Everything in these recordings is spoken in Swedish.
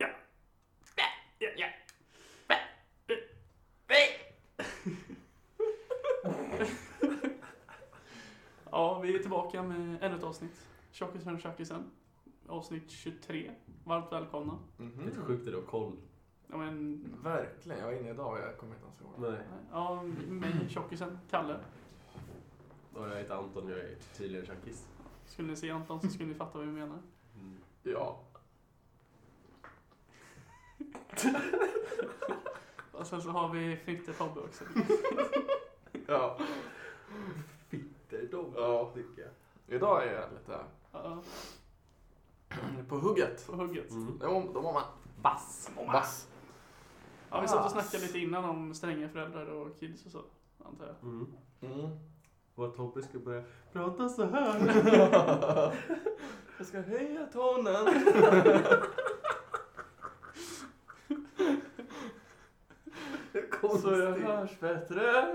ja. Øh, Ja, vi är tillbaka med ännu ett avsnitt. Tjockisen och tjockisen. Avsnitt 23. Varmt välkomna. Mhm. Lite sjukt att du har koll. Ja, men, Verkligen, jag är inne idag och jag kommer inte ens ihåg. Nej. ja, mig, tjockisen, Kalle. Och jag heter Anton och jag är tydligen tjackis. Skulle ni se Anton så skulle ni fatta vad vi menar. Mm. Ja. Och sen så har vi Fitte Tobbe också. ja. Fitterdom, Ja. tycker jag. Idag är jag lite Ja, på hugget. på hugget. Mm. Då då mår man Bass. bass. Ja, vi satt och snackade lite innan om stränga föräldrar och kids och så, antar jag. Mm. Mm. Vad Tobbe ska börja prata så här. jag ska höja tonen. Så jag hörs bättre.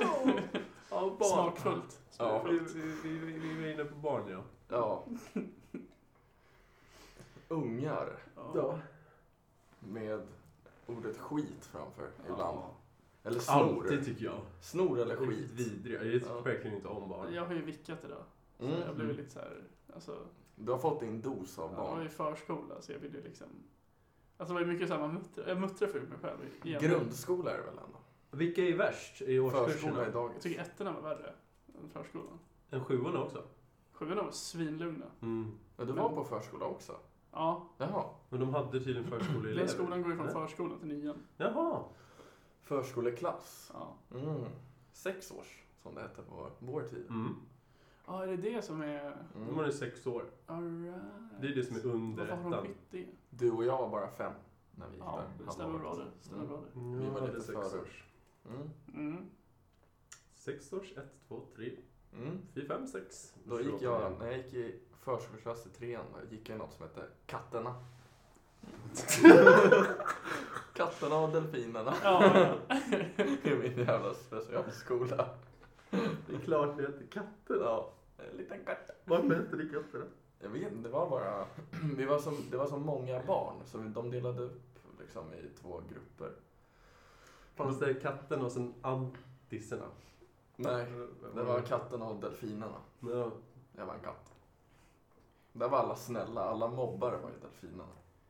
Ja, Smakfullt. Ja. Vi, vi, vi, vi var inne på barn, ja. Ja. Ungar Ja. med ordet skit framför ibland. Ja. Eller snor. Alltid, tycker jag. Snor eller Riktigt skit. vidriga. Jag tycker Ja. verkligen inte om barn. Jag har ju vickat idag. Så Mm. jag blev lite så här, alltså, Du har fått din dos av jag var barn. i förskola så jag ville ju liksom Alltså det var ju mycket såhär, man muttrar, jag muttrar för mig själv. igen. Grundskola är det väl ändå? Vilka är värst i Förskola är årskurserna? Jag dagis. tycker ettorna var värre än förskolan. En sjuorna också. Sjuorna var svinlugna. Mm. Ja, du var på förskola också? Ja, Jaha. Men de hade tydligen förskoleelever. den skolan går ju från Nej. förskolan till nian. Jaha. Förskoleklass. Ja. Mm. Sex års, som det hette på vår tid. Mm. ja, är det det som är... De Mm. var nu sex år. Alright. Det är det som är under Varför har de ettan. bytt det? Du och jag var bara fem när vi gick Ja, där. det stämmer bra det. Stämmer bra det. Mm, Vi jag var hade lite sex före. års. Mm. Mm. Sex års, ett, två, tre, Mm. fyra, fem, sex. Då gick jag, när jag gick i förskoleklass i trean, då gick jag i något som hette Katterna. Katterna och delfinerna. Ja, ja. I min jävla specialskola. Det är klart det hette katter. Ja, en liten katt. Varför hette det katter? Jag vet inte, det var bara... Vi var som, det var så många barn, så de delade upp liksom i två grupper. Fanns det katterna och sen antisserna? Nej, det var katterna och delfinerna. Ja. Jag var en katt. Där var alla snälla, alla mobbare var ju delfinerna.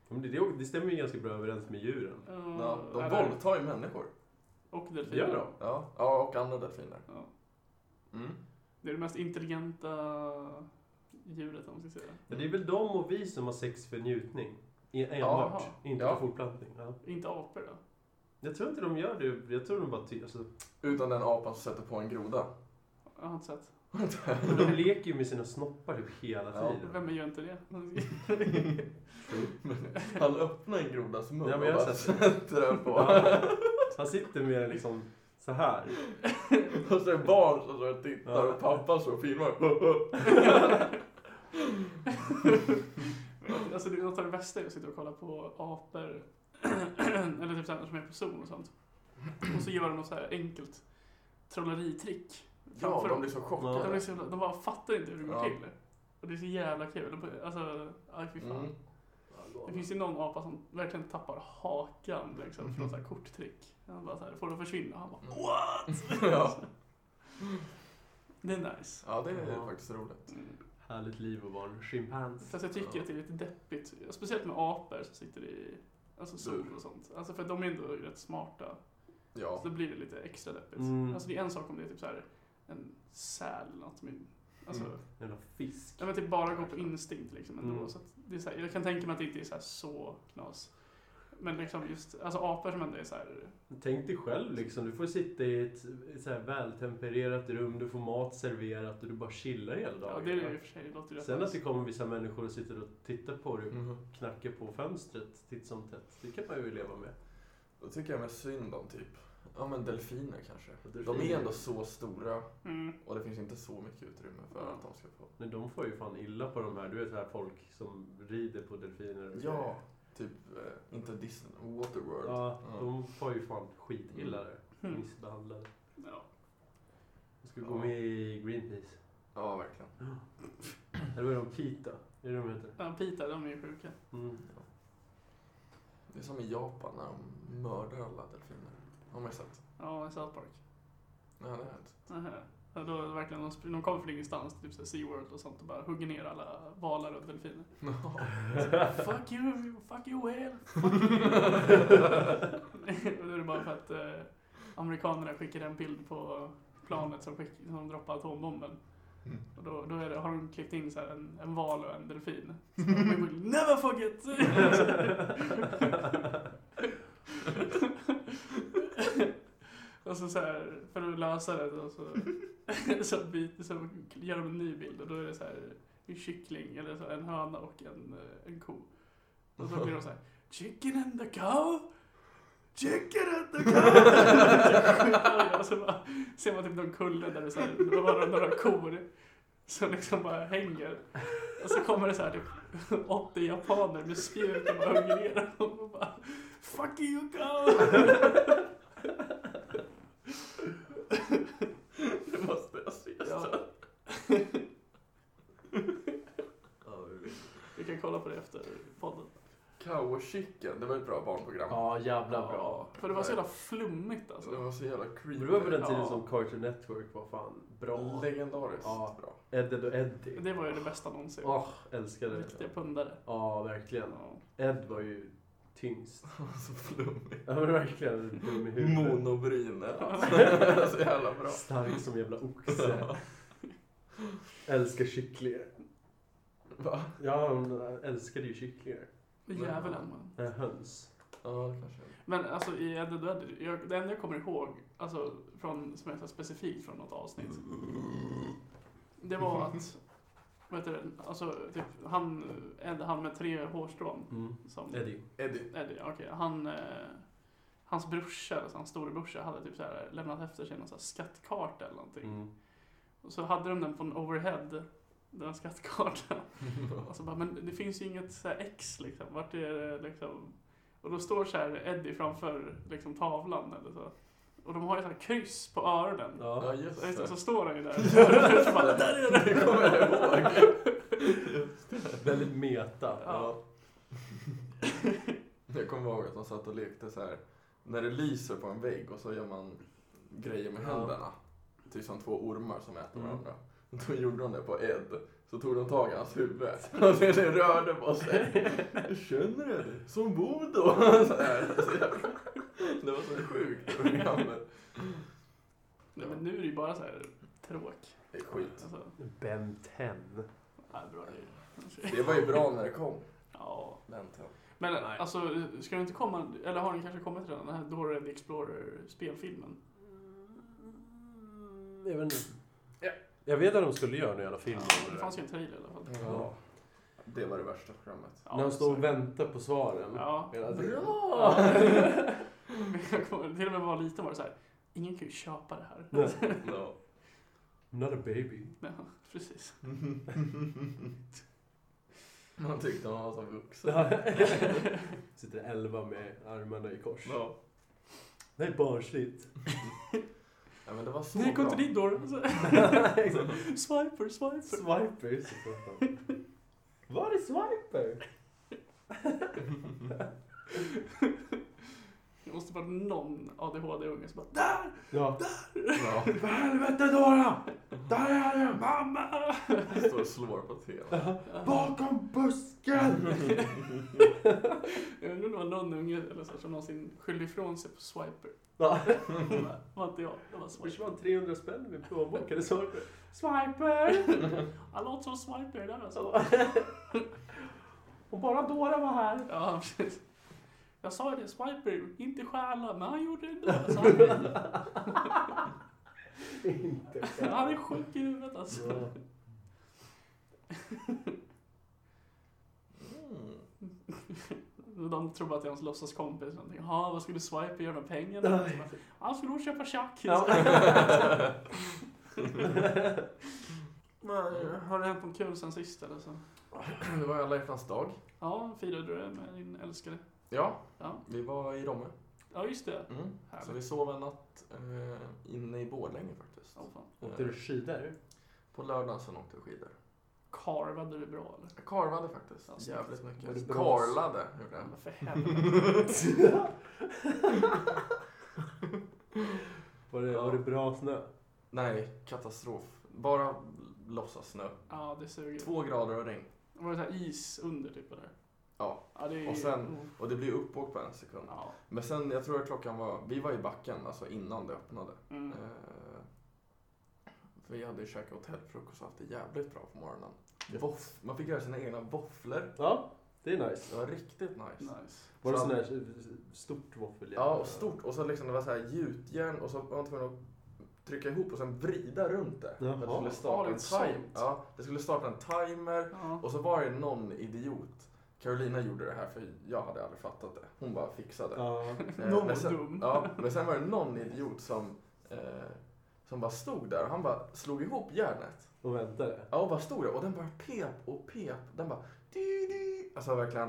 Men det, det stämmer ju ganska bra överens med djuren. Ja, de Eller- våldtar ju människor. Och Gör delfiner. de? Ja, ja och andra delfiner. Ja. Mm. Det är det mest intelligenta djuret om man ska säga. Men det är väl de och vi som har sex för njutning. E- Enbart. Jaha. Inte Ja. för fortplantning. Ja. Inte apor då? Jag tror inte de gör det. Jag tror de bara ty- alltså, Utan den apan som sätter på en groda. Jag har inte sett. Men de leker ju med sina snoppar typ hela Ja. tiden. Vem gör inte det? Han öppnar en grodas mun Ja, och men jag har bara sett sätter den på. Ja. Han sitter med den liksom så här. Och så är det barn som står och tittar Ja. och pappa står och filmar. alltså det är något av det värsta är att sitta och kolla på apor. Eller typ såhär som är på zoo och sånt. Och så gör de något så här enkelt trolleritrick. Ja, framför de dem. blir så Ja. de, chockade. är så, jävla- de bara fattar inte hur det går Ja. till. Och det är så jävla kul. De- Alltså, aj fy fan. Mm. Det finns ju någon apa som verkligen tappar hakan liksom, för något så här korttrick. Han bara så här, får det försvinna. Han bara, Mm. what? Ja. Det är nice. Ja, det är Ja. faktiskt roligt. Härligt liv och barn. Schimpans. Fast jag tycker att det är lite deppigt. Speciellt med apor som sitter i alltså, sol och sånt. Alltså för att de är ändå rätt smarta. Ja. Så då blir det lite extra deppigt. Mm. Alltså det är en sak om det är typ så här en säl eller något. Men, alltså, Mm. Jävla fisk. Jag vet typ bara gå på instinkt liksom ändå. Mm. Så att det är så här, jag kan tänka mig att det inte är så, här så knas. Men liksom just, alltså apor som ändå är så här Tänk dig själv liksom. Du får sitta i ett, ett så här vältempererat rum. Du får mat serverat och du bara chillar hela Ja, dagen. det är det i och för sig. Det låter ju rätt Sen att nice. det kommer vissa människor och sitter och tittar på dig och Mm. knackar på fönstret titt som tätt. Det kan man ju leva med. Då tycker jag med synd om typ, ja men delfiner kanske. De är Delfiner. ändå så stora Mm. och det finns inte så mycket utrymme för att de ska få. Men de får ju fan illa på de här. Du vet här folk som rider på delfiner och grejer. Ja, typ, eh, inte Disney, Waterworld. Mm. Ja, Ja. de får ju fan skitilla där. Mm. Missbehandlade. Ja. De ska Ja. gå med i Greenpeace. Ja, verkligen. och Kita. Är det de heter? Ja, Pita, de är ju sjuka. Mm. Det är som i Japan när de mördar alla delfiner. Har man ju sett. Ja, i South Park. Nej, det har jag inte. Nähä. Ja, då är det verkligen, de, spr- de kommer från ingenstans, typ så här SeaWorld och sånt och bara hugger ner alla valar och delfiner. Fuck you, fuck you whale, fuck you. och då är det bara för att eh, amerikanerna skickar en bild på planet som, skick, som droppar atombomben. Mm. Och då, då är det, har de klippt in så här en, en val och en delfin. Så de bara, Never forget! och så, så här, för att lösa det då, så, så, byter, så gör de en ny bild och då är det så här en kyckling eller så, en höna och en, eh, en ko. Och så blir de så här Chicken and the cow! Chicken and the cow! och så bara, ser man typ någon kulle där det så här, det var några kor som liksom bara hänger. Och så kommer det så här typ 80 japaner med spjut och bara hugger ner dem och bara Fuck you cow! Det måste jag se. Ja, Ja, vi kan kolla på det efter podden. Cow Chicken, det var ett bra barnprogram. jävla bra. För det var så jävla flummigt alltså. Det var så jävla creepy. Det var på den tiden Ja. som Cartoon Network var fan bra. Legendariskt Ja. bra. Eddie och Eddie. Det var ju det bästa någonsin. Åh, älskade det. Riktiga pundare. Ja, verkligen. Ed var ju tyngst. så flummig. Ja, men verkligen. Dum i huvudet. Monobryner. så jävla bra. Stark som jävla oxe. Älskar kycklingar. Va? Ja, hon älskade ju kycklingar. Djävulen man. Nej, höns. Ja, det kanske. Men alltså i Eddie och Eddie, jag, det enda jag kommer ihåg, alltså från, som är så här specifikt från något avsnitt. Det var att, vad heter det, alltså typ han, Ed, han med tre hårstrån. Mm. Som, Eddie. Eddie. Eddie, okej. Han, eh, hans brorsa, alltså hans storebrorsa, hade typ så här lämnat efter sig någon så här skattkarta eller någonting. Mm. Och så hade de den på en overhead, den här skattkartan. Och så bara, men det finns ju inget så här X liksom. Vart är det liksom? Och då står så här Eddie framför liksom tavlan eller så. Och de har ju så här kryss på öronen. Ja, Ja. Ja, just det, just så det. står han ju där. Ja. Så bara, där är det! Det kommer jag ihåg. Väldigt meta. Ja. Jag kommer ihåg att de satt och lekte så här. När det lyser på en vägg och så gör man grejer med Ja. händerna. Typ som två ormar som äter Mm. varandra. Då gjorde de det på Ed. Så tog de tag i hans huvud. Och det det rörde på sig. Känner du det? Som Bodo! Så här. Så jävla- Det var så sjukt det programmet. Nej, men nu är det ju bara så här tråk. Det är skit. Alltså, Ben 10. nej, bra grejer. Det var ju bra när det kom. Ja. Vänta. Men Nej. alltså, ska det inte komma, eller har den kanske kommit redan, den här Dora the Explorer spelfilmen? Jag vet inte. Ja. Jag vet att de skulle göra en jävla film Ja, om det det. fanns ju en trailer i alla fall. Ja. Det var det värsta programmet. Ja, När de står så- och väntar på svaren. Ja. Hela tiden. Ja. Men jag kommer, till och med var liten var det så här. Ingen kan ju köpa det här. Nej. No. Not a baby. Ja, precis. Man tyckte man var så vuxen. Sitter elva med armarna i kors. Ja. Det är barnsligt. Ja, men det var så Nej, gå bra. inte dit då. Exakt. Mm. Swiper, swiper. Swiper. just det. Var är Swiper? Det måste vara någon ADHD-unge som bara där! Ja. Ja, För helvete Dora! Där är jag! Mamma! står och slår på tvn. Bakom busken! Jag undrar om det var någon unge eller så här, som någonsin skyllde ifrån sig på swiper. Ja. Det var- var inte jag, det var Det swiper. försvann 300 spänn i min plånbok eller så. Swiper! Han låter som swiper där alltså. Om bara Dora var här. Ja, precis. Jag sa ju det, swiper, inte stjäla, men han gjorde det ändå. Alltså, han, Inte han är sjuk i huvudet alltså. Ja. Mm. De tror bara att det är hans låtsaskompis. eller någonting. Jaha, vad skulle Swiper göra med pengarna? Nej. Han skulle nog köpa tjack. Ja. Men, Har det hänt något kul sen sist eller så? Det var alla hjärtans dag. Ja, firade du det med din älskade? Ja, Ja, vi var i Romme. ja just det. Mm. Så Härligt. vi sov en natt eh, inne i Borlänge faktiskt. Ja, fan. Åkte du skidor? På lördagen sen åkte vi skidor. Karvade du bra eller? Jag karvade faktiskt Ja, snyggt. jävligt Var det mycket. bra? Karlade gjorde jag. Men för helvete. Var det, Ja. var det bra snö? Nej, katastrof. Bara låtsas snö. ja, det suger. Två grader och regn. Var det så här is under typ eller? Ja. ja det är ju- Och sen- Mm. Och det blir uppåkt på en sekund. Ja. Men sen, jag tror att klockan var... Vi var i backen, alltså innan det öppnade. Mm. Eh, vi hade ju käkat hotellfrukost och haft det jävligt bra på morgonen. Våff, man fick göra sina egna våfflor. Ja, det är nice. Det var riktigt nice. Nice. Var det Så- sån här stort våffel? Ja, och stort. Och så liksom det var så här gjutjärn och så var man tvungen att trycka ihop och sen vrida runt det. Jaha. För att Det skulle Ja, det starta är en timer. sånt. Ja, det skulle starta en timer Ja. och så var det någon idiot. Carolina gjorde det här för jag hade aldrig fattat det. Hon bara fixade. Ja. Eh, Någon men var sen, dum. Ja, men sen var det någon idiot som, eh, som bara stod där och han bara slog ihop järnet. Och väntade. Ja, och bara stod där och den bara pep och pep. Den bara... Di, di. Alltså verkligen,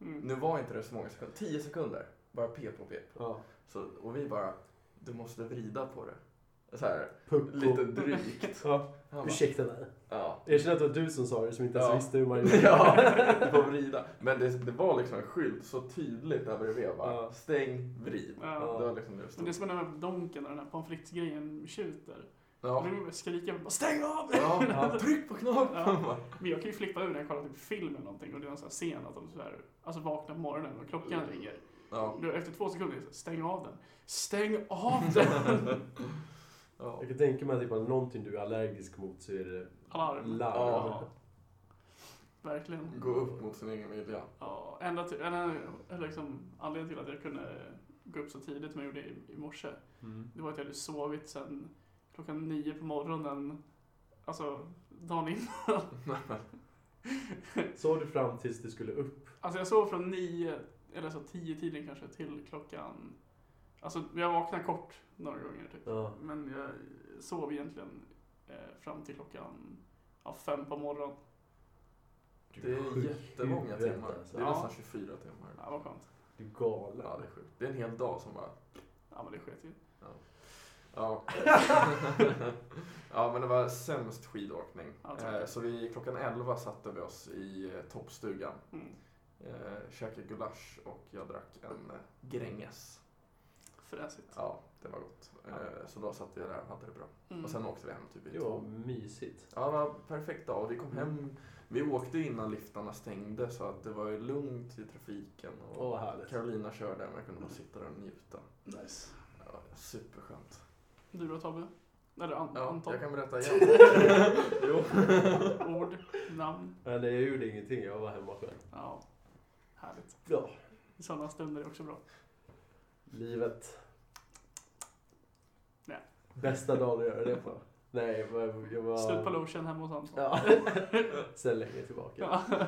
Mm. nu var inte det så många sekunder. Tio sekunder. Bara pep och pep. Ja. Så, och vi bara, du måste vrida på det. Så här, Puck lite drygt. Ja. Han bara, Ursäkta mig. ja. Erkänn att det var du som sa det som inte ens Ja. visste hur man gjorde. ja, du får vrida. Men det, det var liksom en skylt så tydligt över det vi bara, Ja. stäng, vrid. Ja. Det var liksom det det Men det är stod. som den här donken och den här pommes frites-grejen tjuter. Ja. Ja. Då vill man skrika bara stäng av! Ja, tryck på knappen! Ja. Men jag kan ju flippa ur när jag kollar typ film eller någonting och det är en sån här scen att de sådär, alltså vaknar på morgonen och klockan ringer. Ja. Då efter två sekunder, är det så här, stäng av den. Stäng av den! Ja. Jag kan tänka mig att ifall någonting du är allergisk mot så är det Alarm. larm. Ja. Verkligen. Gå upp mot sin egen vilja. Ja, enda, ty- enda liksom, anledningen till att jag kunde gå upp så tidigt som jag gjorde i, i morse, Mm. det var att jag hade sovit sedan klockan nio på morgonen, alltså dagen innan. Såg du fram tills du skulle upp? Alltså jag sov från nio, eller så tio tiden kanske, till klockan, alltså jag vaknade kort några gånger typ. Ja. Men jag sov egentligen eh, fram till klockan ja, fem på morgonen. Det är Sjuk jättemånga huvud, timmar. alltså. Det är Ja. nästan 24 timmar. Ja, vad skönt. Du är galen. Ja, det är sjukt. Det är en hel dag som bara... Ja, men det sket ju. Ja. ja, men det var sämst skidåkning. Ja, Eh, tråkigt. Så vi, klockan 11 satte vi oss i eh, toppstugan. Mm. Eh, käkade gulasch och jag drack en eh, Gränges. Fräsigt. Ja, det var gott. Eh, så då satt vi där och hade det bra. Mm. Och sen åkte vi hem typ i Det var tolv. mysigt. Ja, det var en perfekt dag. Och Vi kom hem. Vi åkte innan liftarna stängde så att det var ju lugnt i trafiken. Och Åh, vad härligt. Carolina körde men jag kunde bara sitta där och njuta. Nice. Ja, superskönt. Du då Tobbe? Eller An- Ja, Anton? jag kan berätta igen. jo. Ord, namn. Men jag gjorde ingenting, jag var hemma själv. Ja, härligt. Ja. Sådana stunder är också bra. Livet. Nej. Bästa dagen att göra det på. Nej, jag var... Jag var... Slut på lotion hemma hos Anton. Ja. Sen länge tillbaka.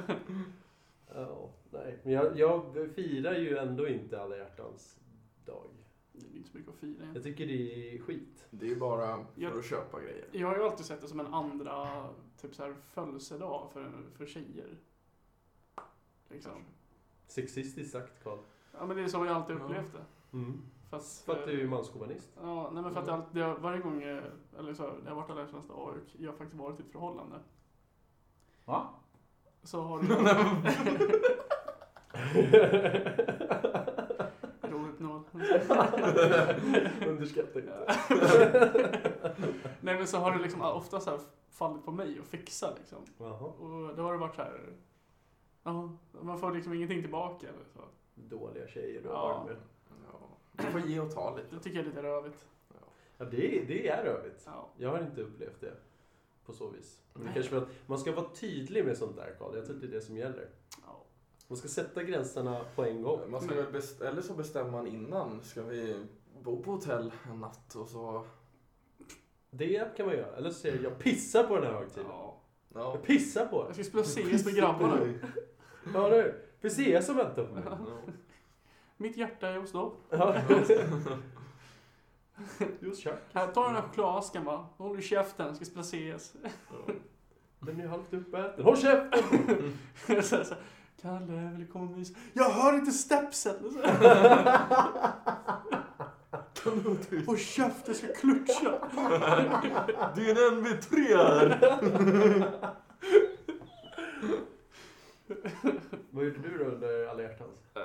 Ja. Ja, nej. Men jag, jag firar ju ändå inte alla hjärtans dag. Det är inte så mycket att fira egentligen. Jag tycker det är skit. Det är ju bara för Jag- att köpa grejer. Jag har ju alltid sett det som en andra typ så här, födelsedag för, för tjejer. Liksom. Sexistiskt sagt, Karl. Ja men det är så jag alltid Ja. upplevt det. Mm. Fast, För att du är eh, manskommunist. Ja, nej men för att det, alltid- det, har- varje gång jag, eller så, när jag har varit alla hjärtans dag och jag har faktiskt varit i ett förhållande. Va? Så har du... Roligt nog. Underskatta inte. Nej men så har det liksom ofta så här fallit på mig att fixa liksom. Jaha. Och då har det varit så här. Ja, man får liksom ingenting tillbaka eller så. Dåliga tjejer du Ja. har med. Ja. Man får ge och ta lite. Det tycker jag är lite rövigt. Ja, det, det är rövigt. Ja. Jag har inte upplevt det på så vis. Men det Nej. kanske för att man ska vara tydlig med sånt där, Karl. Jag tror det är det som gäller. ja. Man ska sätta gränserna på en gång. Man ska väl best- eller så bestämmer man innan. Ska vi bo på hotell en natt och så... Det kan man göra. Eller så säger jag, jag pissar på den här högtiden. ja. Ja. Jag pissar på Jag den. ska spela CS med grabbarna. Ja, nu. Precis som väntar på mig. Mitt hjärta är hos dem. Ja. Just kör. Här, ta den här chokladasken va. Håll i käften, ska spela CS. Den är halvt uppäten. Håll käften! så här, så här, Kalle, vill du komma och mysa? Jag hör inte stepsen! Så här. Håll käften, jag ska klutscha! Det är en NB3 här! Vad gjorde du då under alla hjärtans? Eh,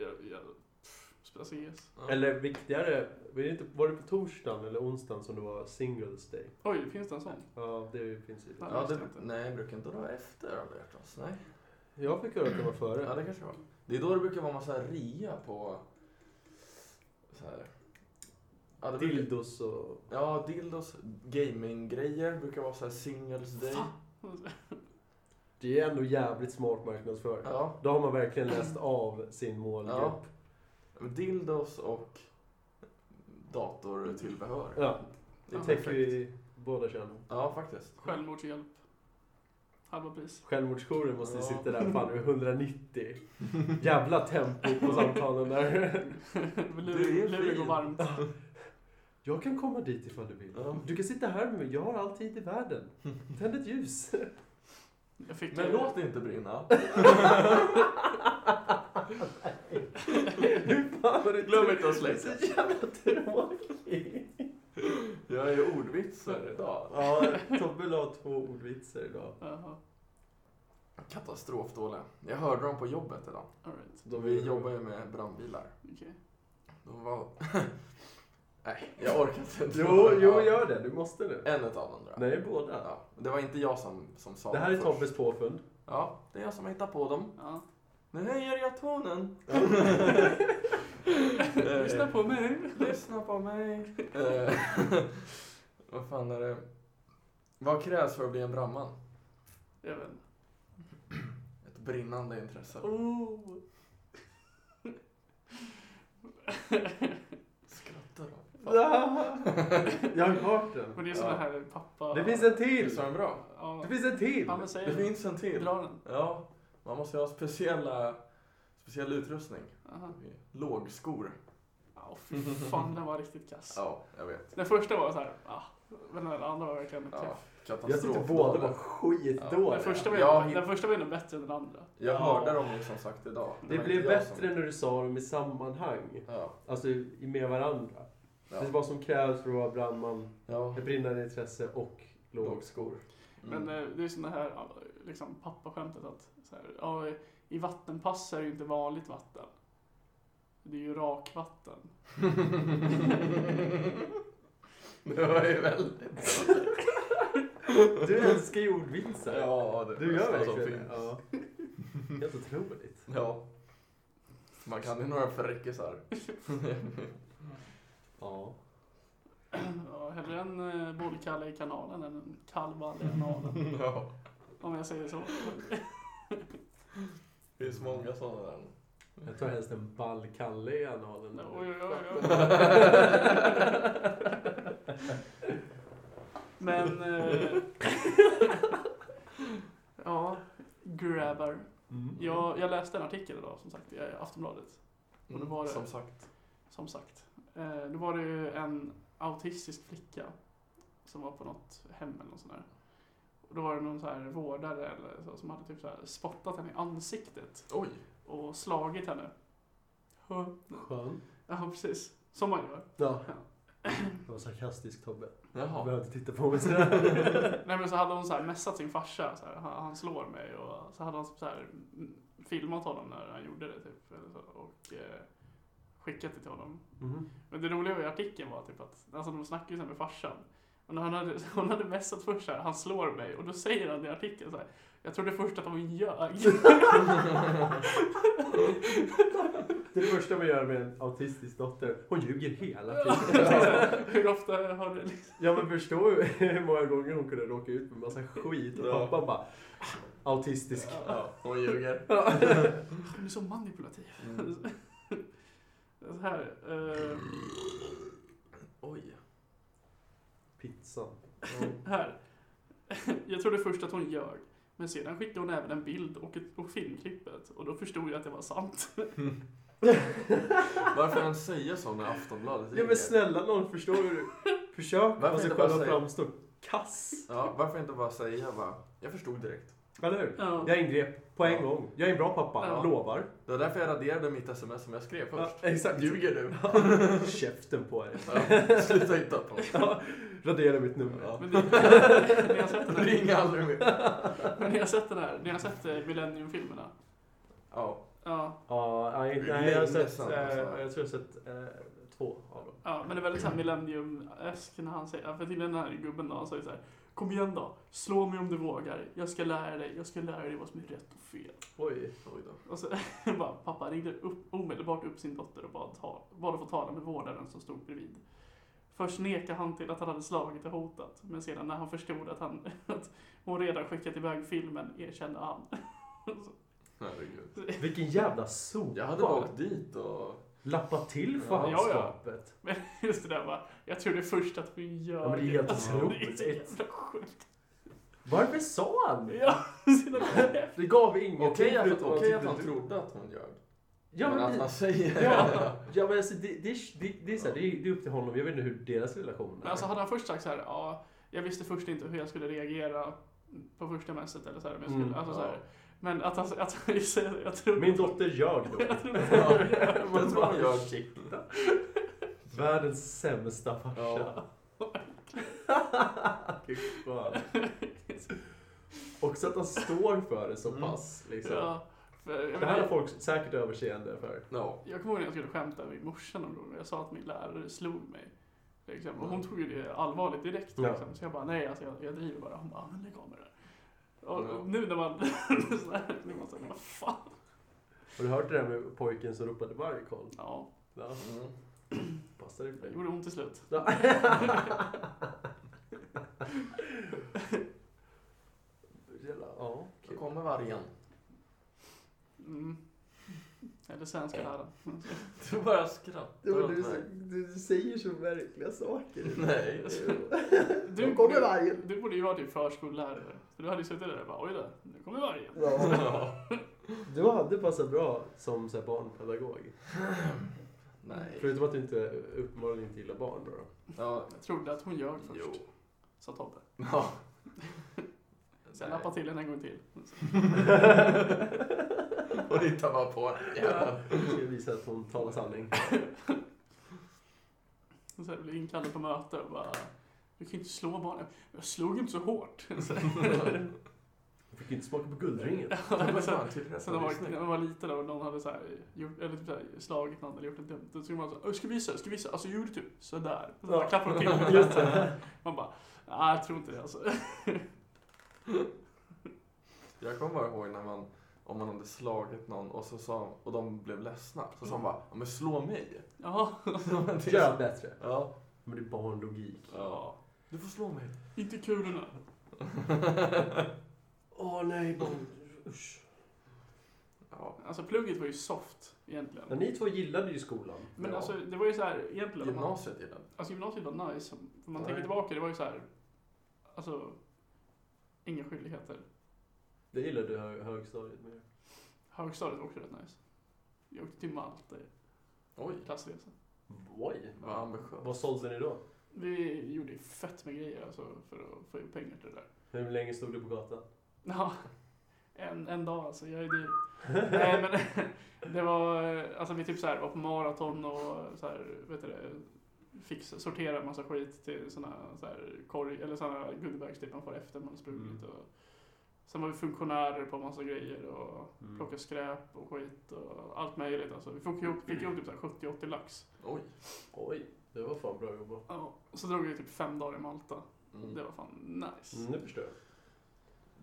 jag, jag pff, spelar CS. Ja. Eller viktigare, var det, inte, var det på torsdagen eller onsdagen som det var singles day? Oj, finns det en sån? Ja, det är ju i princip. Ja. Ja, visste det, jag inte. nej, brukar inte det vara efter alla hjärtans? Nej. Jag fick höra att det var Ja, före. det kanske det var. Det är då det brukar vara massa ria på... Så här. Ja, det brukar- Dildos och... Ja, dildos, gaminggrejer brukar vara så här singles day. Det är ändå jävligt smart marknadsföring. Ja, Då har man verkligen läst av sin målgrupp. Ja. dildos och datortillbehör. Ja, Det är Ja, täcker perfekt. ju i båda könen. Ja, faktiskt. Självmordshjälp. Halva pris. Självmordsjouren måste ju Ja. sitta där fan vid 190. Jävla tempo på samtalen där. Du är Luleå Luleå går fin. varmt. Jag kan komma dit ifall du vill. Ja. Du kan sitta här med mig, jag har all tid i världen. Tänd ett ljus. Jag fick Men eh, låt det inte brinna. Hur fan var det Glöm inte att släcka. Så jävla tråkig. Jag är ju ordvitsar idag. Ja, Tobbe la två ordvitsar idag. Jaha, Katastrofdåliga. Jag hörde dem på jobbet idag. alright. Vi Mm. jobbar ju med brandbilar. Okej. De var... Nej, jag orkar inte. Jo, jo, Ja. gör det. Du måste det. En utav dem tror jag. Nej, båda. Ja, det var inte jag som, som sa Det här är först. Tobbes påfund. Ja, det är jag som har hittat på dem. Ja. Nu höjer jag tonen. Eh, Lyssna på mig. Lyssna på mig. Eh, Vad fan är det? Vad krävs för att bli en brandman? Jag vet inte. Ett brinnande intresse. Oh. Skrattar de? Ah, Jag har hört den. Men det är såna Ja. här pappa... Det finns en Visst till! var den bra? Ja. Det finns en till! Ja, men säg Det finns en till. Dra den. Ja, man måste ju ha speciella, speciell utrustning. Jaha. Lågskor. Ja, fy fan, den var riktigt kass. Ja, jag vet. Den första var så här, ah, men den andra var verkligen en Ja, träff. Jag katastrof. tyckte båda var Ja. skitdåliga. Den första var Jag ju- hitt- den första var ju nog bättre än den andra. Jag Ja. hörde dem ju som sagt idag. Det var blev inte jag som- bättre när du sa dem i sammanhang. Ja, Alltså i- med varandra. ja. Det är vad som krävs för att vara brandman. ja. Ett brinnande intresse och lågskor. Mm. Men eh, det är såna här ja, liksom, pappaskämtet att så här, ja, i vattenpass är det ju inte vanligt vatten. Det är ju rakvatten. det var ju väldigt... Du älskar ju ordvitsar. Ja, det är du gör bästa som verkligen det. finns. Ja. Helt otroligt. Ja. Man kan ju några fräckisar. Ja. Ja, hellre en eh, bollkalle i kanalen än en kalvall i analen. ja. Om jag säger så. Det finns många sådana där. Jag tar helst en ballkalle i analen. Oj, oj, oj, oj. Men... Eh, ja, grabbar. Mm. Jag, jag läste en artikel idag som sagt i Aftonbladet. Och det var det. Som sagt. Som sagt. Eh, då var det ju en autistisk flicka som var på något hem eller något sånt där. Och då var det någon så här vårdare eller så, som hade typ så här spottat henne i ansiktet Oj. och slagit henne. Hö. Skön. Ja, precis. Som man gör. Ja. Det var sarkastisk Tobbe. Du Jaha. behövde titta på mig sådär. Nej men så hade hon så här messat sin farsa, så här, han, han slår mig och så hade han så här mm, filmat honom när han gjorde det typ eller så, och eh, skickat det till honom. Mm. Mhm. Men det roliga i artikeln var typ att alltså, de snackade ju så här med farsan. Och när han hade, hon hade messat först så här, han slår mig och då säger han i artikeln så här, jag trodde först att hon ljög. Det första man gör med en autistisk dotter, hon ljuger hela Ja, så tiden. här, Hur ofta har du liksom... Ja men förstå hur- hur många gånger hon kunde råka ut med massa skit och Ja. pappa bara "Ah, autistisk. Ja, hon ljuger. Hon är så manipulativ. Mm. Så här, eh, Oj. Pizzan. Här. Jag trodde först att hon ljög. Men sedan skickade hon även en bild och, ett, och filmklippet och då förstod jag att det var sant. Varför ens säga så när Aftonbladet Ja men snälla någon förstår du? Försök Varför få sig inte bara själv att säga- framstå kass. Ja, varför inte bara säga bara, jag förstod direkt. Eller hur? Ja. Jag ingrep på en Ja. gång. Jag är en bra pappa, Ja. lovar. Det var därför jag raderade mitt sms som jag skrev först. Ja, exakt. Ljuger du? Käften på er. Ja, sluta hitta på. Ja, radera mitt nummer. Ja. Men ni, ni har sett den här, Ring aldrig mer. Men ni har sett den här, ni har sett eh, Millennium-filmerna? Ja, Ja, Ja, nej, Det är nej, jag har länge sett, sedan, eh, alltså. jag tror jag har sett eh, två av dem. ja, men det är väldigt såhär Millennium-esk när han säger, ja, för till den här gubben då, han säger såhär Kom igen då, slå mig om du vågar, jag ska lära dig, jag ska lära dig vad som är rätt och fel. Oj. oj då. Och så bara, pappa ringde upp, omedelbart upp sin dotter och bad, ta, bad att få tala med vårdaren som stod bredvid. Först nekade han till att han hade slagit och hotat, men sedan när han förstod att, han, att hon redan skickat iväg filmen erkände han. Herregud. Vilken jävla sopa. Jag hade bara åkt dit och... Lappa till Ja, ja, ja. fanskapet. Just det där bara, jag trodde först att vi gör Ja, men det är helt Alltså, otroligt. Det är så jävla sjukt. Varför sa han? Ja, sina Det gav ingenting Okej att, förutom okej att tyckte han du- trodde att hon ljög. Ja, men alltså- men, att han säger... ja, ja, men alltså, det, det, det, det, är så här, det, är, det är upp till honom. Jag vet inte hur deras relation är. Men alltså hade han först sagt så här, ja, jag visste först inte hur jag skulle reagera på första mässet eller så här, men jag skulle, Mm, alltså så ja. här. Men att han, att han säger, jag trodde Min dotter ljög då. Jag trodde Ja, Man jag tror han bara, gör. ursäkta. Världens sämsta farsa. Ja. Fy fan. Också att han står för det så Mm. pass. Liksom. Ja, för, jag, Det här har menar, folk säkert överseende för. Ja. jag kommer ihåg när jag skulle skämta med morsan någon gång och jag sa att min lärare slog mig. Liksom. Och hon tog ju det allvarligt direkt. Ja. Liksom. Så jag bara, nej alltså, jag, jag driver bara. Hon bara, men lägg av med det där. Och Ja. nu när man... så här, när man säger, vad fan. Har du hört det där med pojken som ropade vargkoll? Ja, Ja, Mm. passar det för det dig? gjorde ont till slut. Ja. Jävla- Ja, Då okej. kommer vargen. Mm. Eller svenska läraren. Mm. Du bara skrattar Ja, men åt du, är så- mig. du, du säger så verkliga saker. Nej. Nu kommer vargen. Du borde ju vara typ förskollärare. För du hade ju suttit där och bara, oj då, nu kommer vargen. Ja. Du hade passat bra som så här, barnpedagog. Nej. Förutom att du inte uppenbarligen inte gillar barn. Då, då. Ja. Jag trodde att hon ljög först, Jo. sa Tobbe. Ja. Sen nappade till henne en gång till. Och ni tar bara på den. Ja. Jag ska visa att hon talar sanning. Och sen blev jag inkallad på möte och bara, du kan ju inte slå barnen. Jag slog inte så hårt. Så- Hon fick inte smaka på guldringen. Det var Eller så- fan tillrätt. Sen när man, var- när Snyggt. man var liten och någon hade så här, gjort, eller typ så här, slagit någon eller gjort något dumt, då skulle man säga ska vi visa, ska vi visa, alltså gjorde du typ sådär? Och så Ja. bara klappar man till. Just det. Man bara, nej jag tror inte det alltså. Jag kommer bara ihåg när man, om man hade slagit någon och, så sa, och de blev ledsna. Så sa de bara, "Ja, men slå mig. Jaha. Gör bättre. Ja. Men det är barnlogik. ja. Du får slå mig. Inte kulorna. Åh nej, barn. Usch. Ja. Alltså plugget var ju soft egentligen. Ja, ni två gillade ju skolan. Men Ja. alltså det var ju så här egentligen. om man- Gymnasiet gillade Alltså gymnasiet var nice. Om man Nej. tänker tillbaka, det var ju så här. Alltså. Inga skyldigheter. Det gillade du hö- högstadiet mer. Högstadiet var också rätt nice. Jag åkte till Malta i Oj, klassresa. Oj. vad ambitiöst. Vad sålde ni då? Vi gjorde fett med grejer alltså för att få in pengar till det där. Hur länge stod du på gatan? Ja. En, en dag alltså, jag är dyr. Nej men det var, alltså vi typ så här var på maraton och så här, vet du det, fix, sortera en massa skit till såna så här korg, eller såna goodiebags typ man får efter man har sprungit Mm. och Sen var vi funktionärer på massa grejer och Mm. plockade skräp och skit och allt möjligt alltså. Vi fick ihop, fick ihop typ så här 70-80 lax. Oj. Oj, det var fan bra jobbat. Ja, och så drog vi typ fem dagar i Malta. Mm. Det var fan nice. Mm, nu förstår jag.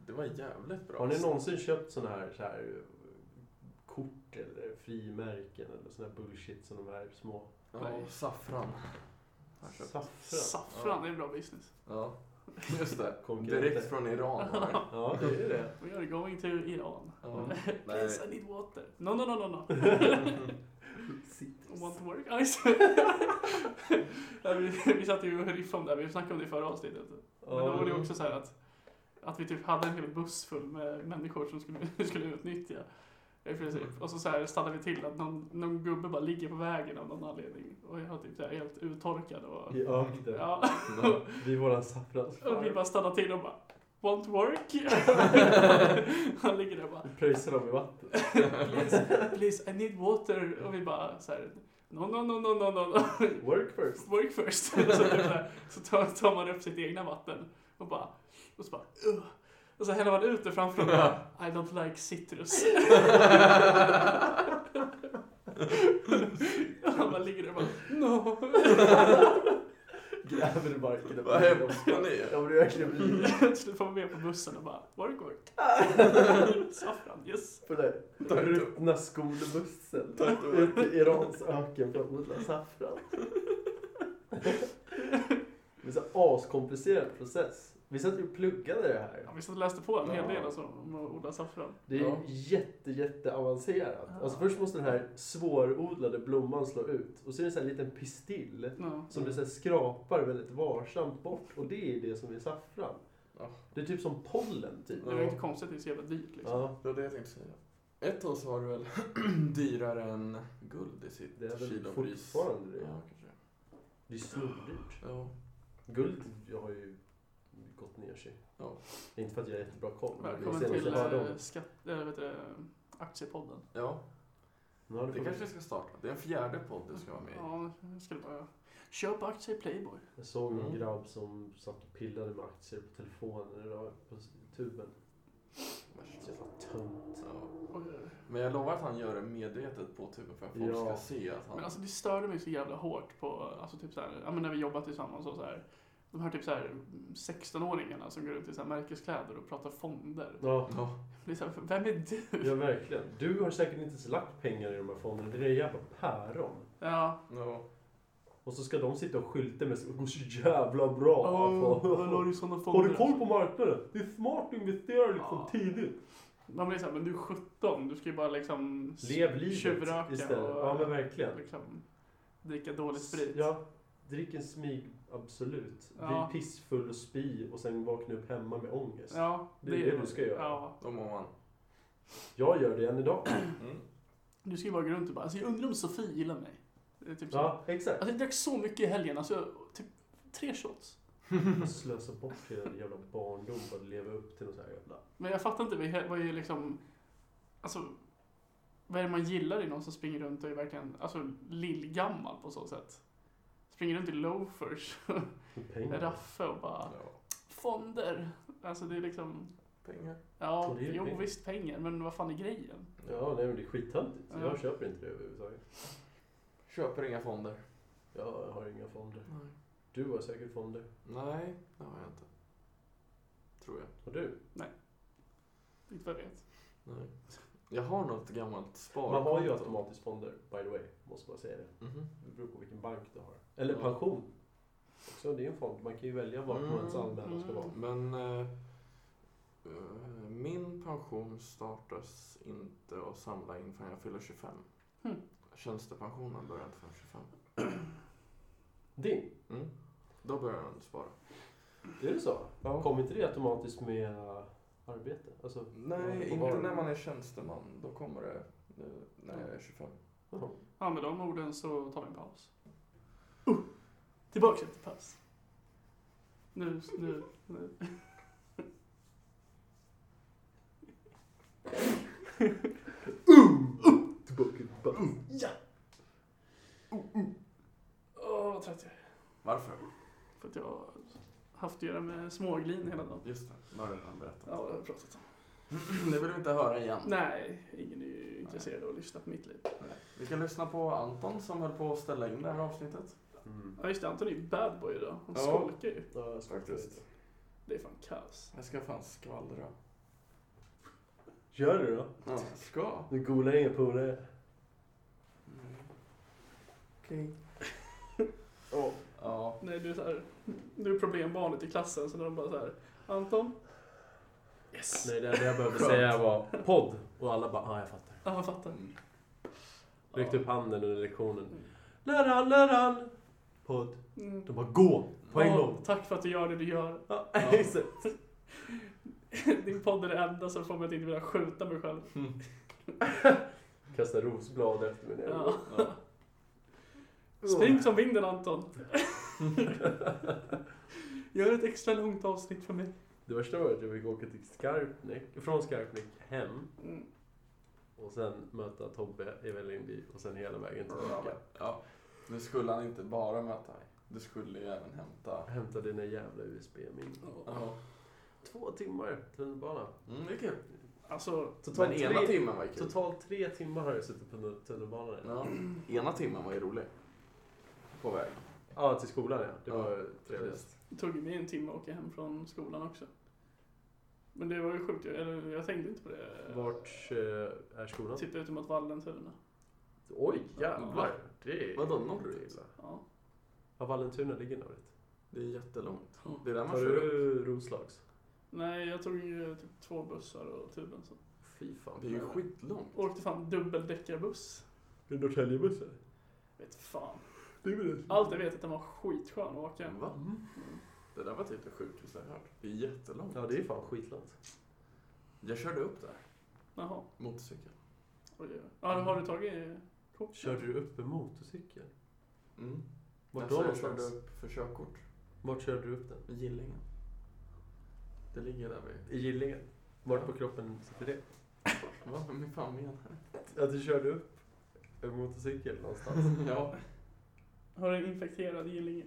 Det var jävligt bra. Har ni någonsin köpt sådana här, så här eh, kort eller frimärken eller sån här bullshit som de här små? Ja, saffran. Har jag köpt. Saffran. Saffran, Ja. det är bra business. Ja, just det. Konkurrenter. Direkt från Iran var det. Ja, det är det. We are going to Iran. Ja. Please I need water. No, no, no, no, no. Want to work ice. Nej, vi, vi satt ju och riffade om det här, vi snackade om det i förra avsnittet. Men då var det också så här att, att vi typ hade en hel buss full med människor som skulle, skulle utnyttja. I princip. Och så, så här stannade vi till att någon, någon gubbe bara ligger på vägen av någon anledning. Och jag var typ så här helt uttorkad och... I öknen. Ja, Vid våran saffransfarm. och vi bara stannade till och bara Want work? Han ligger där och bara Pröjsar dem i vatten. please, please I need water. Och vi bara så här, no, no, no, no, no, no. Work first. Work first. så, typ så, här, så tar, tar man upp sitt egna vatten och bara, och så bara, Ugh. Och så häller man ut det framför och bara, I don't like citrus. och han bara ligger där och bara, no. Gräver i marken. Vad hemska ni är. Ja men det är verkligen vidrigt. Till slut får man med på bussen och bara, work, work. Saffran, yes. På den Tack. ruttna skolbussen. Tack. Ute i Irans öken för att odla saffran. Det är en askomplicerad process. Vi satt ju och pluggade det här. Ja, vi satt och läste på en hel del Ja. alltså, om att odla saffran. Det är ju Ja. jätte, jätte avancerat. Ja. Alltså först måste den här svårodlade blomman slå ut och så är det så här en liten pistill Ja. som du så här skrapar väldigt varsamt bort och det är det som är saffran. Ja. Det är typ som pollen typ. Det var ju inte konstigt, det är så jävla dyrt liksom. Ja, Det var det jag tänkte säga. Ett år så var det väl dyrare än guld i sitt det är väl kilopris. fortfarande det. Ja, kanske. Det är snordyrt. Ja. Mm. Guld jag har ju gått ner sig. Ja. Inte för att jag har jättebra koll. men det är Välkommen det senaste till jag hörde om. eh, skatt, äh, vet du, aktiepodden. ja, Nu har du det fått- kanske vi ska starta. Det är en fjärde podd du ska vara med i. Ja, det ska det vara. Köp aktier i Playboy. Jag såg en Mm. grabb som satt och pillade med aktier på telefonen idag på s- tuben. Värst. Så jävla tönt. Ja. Och, eh, Men jag lovar att han gör det medvetet på tuben för att folk Ja. ska se att han... Men alltså det störde mig så jävla hårt på, alltså typ såhär, ja men när vi jobbat tillsammans och såhär. De här typ såhär 16-åringarna som går runt i såhär märkeskläder och pratar fonder. Ja, Ja. Jag blir såhär, vem är du? ja, verkligen. Du har säkert inte ens lagt pengar i de här fonderna. Det är jävla päron. Ja, Ja. Och så ska de sitta och skylta med sig. Det går så jävla bra. åh, Fan. vad la du i sådana fonder? har du koll på marknaden? Det är smart att investera liksom Ja. tidigt. Man blir såhär, men du är 17, du ska ju bara liksom s- Lev livet tjuvröka istället. Ja, men verkligen. liksom dricka dålig sprit. Ja, drick en smyg. Absolut. Ja. Bli pissfull och spy och sen vakna upp hemma med ångest. Ja, Det är det du ska göra. Ja. Då mår man. Jag gör det än idag. Mm. Du ska ju bara gå runt och bara, alltså jag undrar om Sofie gillar mig. Det är typ så. Ja, exakt. Alltså jag drack så mycket i helgen, alltså jag- typ tre shots. Jag slösar bort hela min jävla barndom på att leva upp till något så här jävla... Men jag fattar inte, vad är- vad är liksom, alltså vad är det man gillar i någon som springer runt och är verkligen, alltså lillgammal på så sätt? Springer runt i loafers, Pengar. raffe och bara, Ja. fonder. Alltså det är liksom, Pengar. ja, Och det är ju jo pengar. visst pengar, men vad fan är grejen? Ja, nej men det är skittöntigt. Ja. Jag köper inte det överhuvudtaget. Köper inga fonder. Jag har inga fonder. Nej. Du har säkert fonder. Nej, det har jag inte. Tror jag. Har du? Inte vad jag vet. Nej. Jag har något gammalt sparkonto. Man har ju automatiskt fonder, by the way. Måste bara säga det. Mhm. Det beror på vilken bank du har. Eller Ja. pension. Också, det är en fond. Man kan ju välja vart Mm. ens anmälan ska Mm. vara. Men eh, eh, min pension startas inte att samla in förrän jag fyller 25. Hmm. Tjänstepensionen börjar inte förrän 25. Din? Mm. Då börjar jag spara. Är det så? Ja. Kommer inte det automatiskt med äh, arbete? Alltså, Nej, på inte var- när man är tjänsteman. Då kommer det eh, när jag är 25. Jaha. Ja, med de orden så tar vi en paus. Uh, tillbaka till paus. Nu, nu, nu. Tillbaka till paus. Åh, oh, vad trött jag är. Varför? För att jag har haft att göra med småglin hela dagen. Just det, det har jag redan berättat. Ja, det har jag pratat om. Det vill vi inte höra igen. Nej, ingen är ju intresserad av att lyssna på mitt liv. Nej. Vi kan lyssna på Anton som höll på att ställa in det här avsnittet. Mm. Ja, just det. Anton är ju bad boy idag. Han Ja. skolkar ju. Ja, jag ska Faktiskt. inte- Det är fan kaos. Jag ska fan skvallra. Gör det då. Ja, jag ska. Du golar inga polare. Mm. Okej. Ja. Ja. Nej, du är så här, du är problembarnet i klassen, så när de bara så här, Anton? Yes! Nej, det enda jag behövde säga var podd. Och alla bara, ja ah, jag fattar. Ja, jag fattar. Räckte upp Ja. handen under lektionen. Mm. Läraren, läraren! Podd. Mm. De bara, gå! På en Ja, gång. Tack för att du gör det du gör. Ja, exakt. Din podd är det enda som får mig att inte vilja skjuta mig själv. Kasta rosblad efter mig. Ja. Ja. Spring som vinden Anton. Gör ett extra långt avsnitt för mig. Det värsta var att jag fick åka till Skarpnäck, från Skarpnäck hem Mm. och sen möta Tobbe i Vällingby och sen hela vägen tillbaka. Ja. Det skulle han inte bara möta dig. Du skulle ju även hämta... Hämta dina jävla USB-minnen. Ja. Två timmar tunnelbana. Mm, det är kul. Alltså, Totalt Men ena tre- timmen var ju kul. Totalt tre timmar har jag suttit på tunnel- tunnelbanan. Ja, Ja. Ena timmen var ju rolig. På väg. till skolan ja. Det var trevligt. det tog mig en timme att åka hem från skolan också. Men det var ju sjukt, jag, eller, jag tänkte inte på det. Vart eh, är skolan? Titta ut mot Vallentuna. Oj jävlar. Det är... Vadå, norrut? illa. Ja. Ja, Vallentuna ligger norrut. Det är jättelångt. Det är där man Tar kör upp. du Roslags? Nej, jag tog ju typ två bussar och tuben. Så. Fy fan. Det är ju skitlångt. Åkte fan dubbeldäckarbuss. Är det Norrtäljebussen? Vet fan. Det är väl det. Allt jag vet är att den var skitskön att åka. Va? Mm. Det där var typ det sjukaste jag hört. Det är jättelångt. Ja, det är fan skitlångt. Jag körde upp där. Jaha. Motorcykel. Oj, oj. Ja, har du tagit kort? Körde du upp en motorcykel? Mm. Vart Alltså, då jag körde någonstans? upp för körkort. Vart körde du upp den? I Gillingen. Det ligger där vid... I Gillingen? Vart på kroppen sitter det? Vad men fan menar du? Att du körde upp en motorcykel någonstans? Ja. Har du en infekterad gillinge?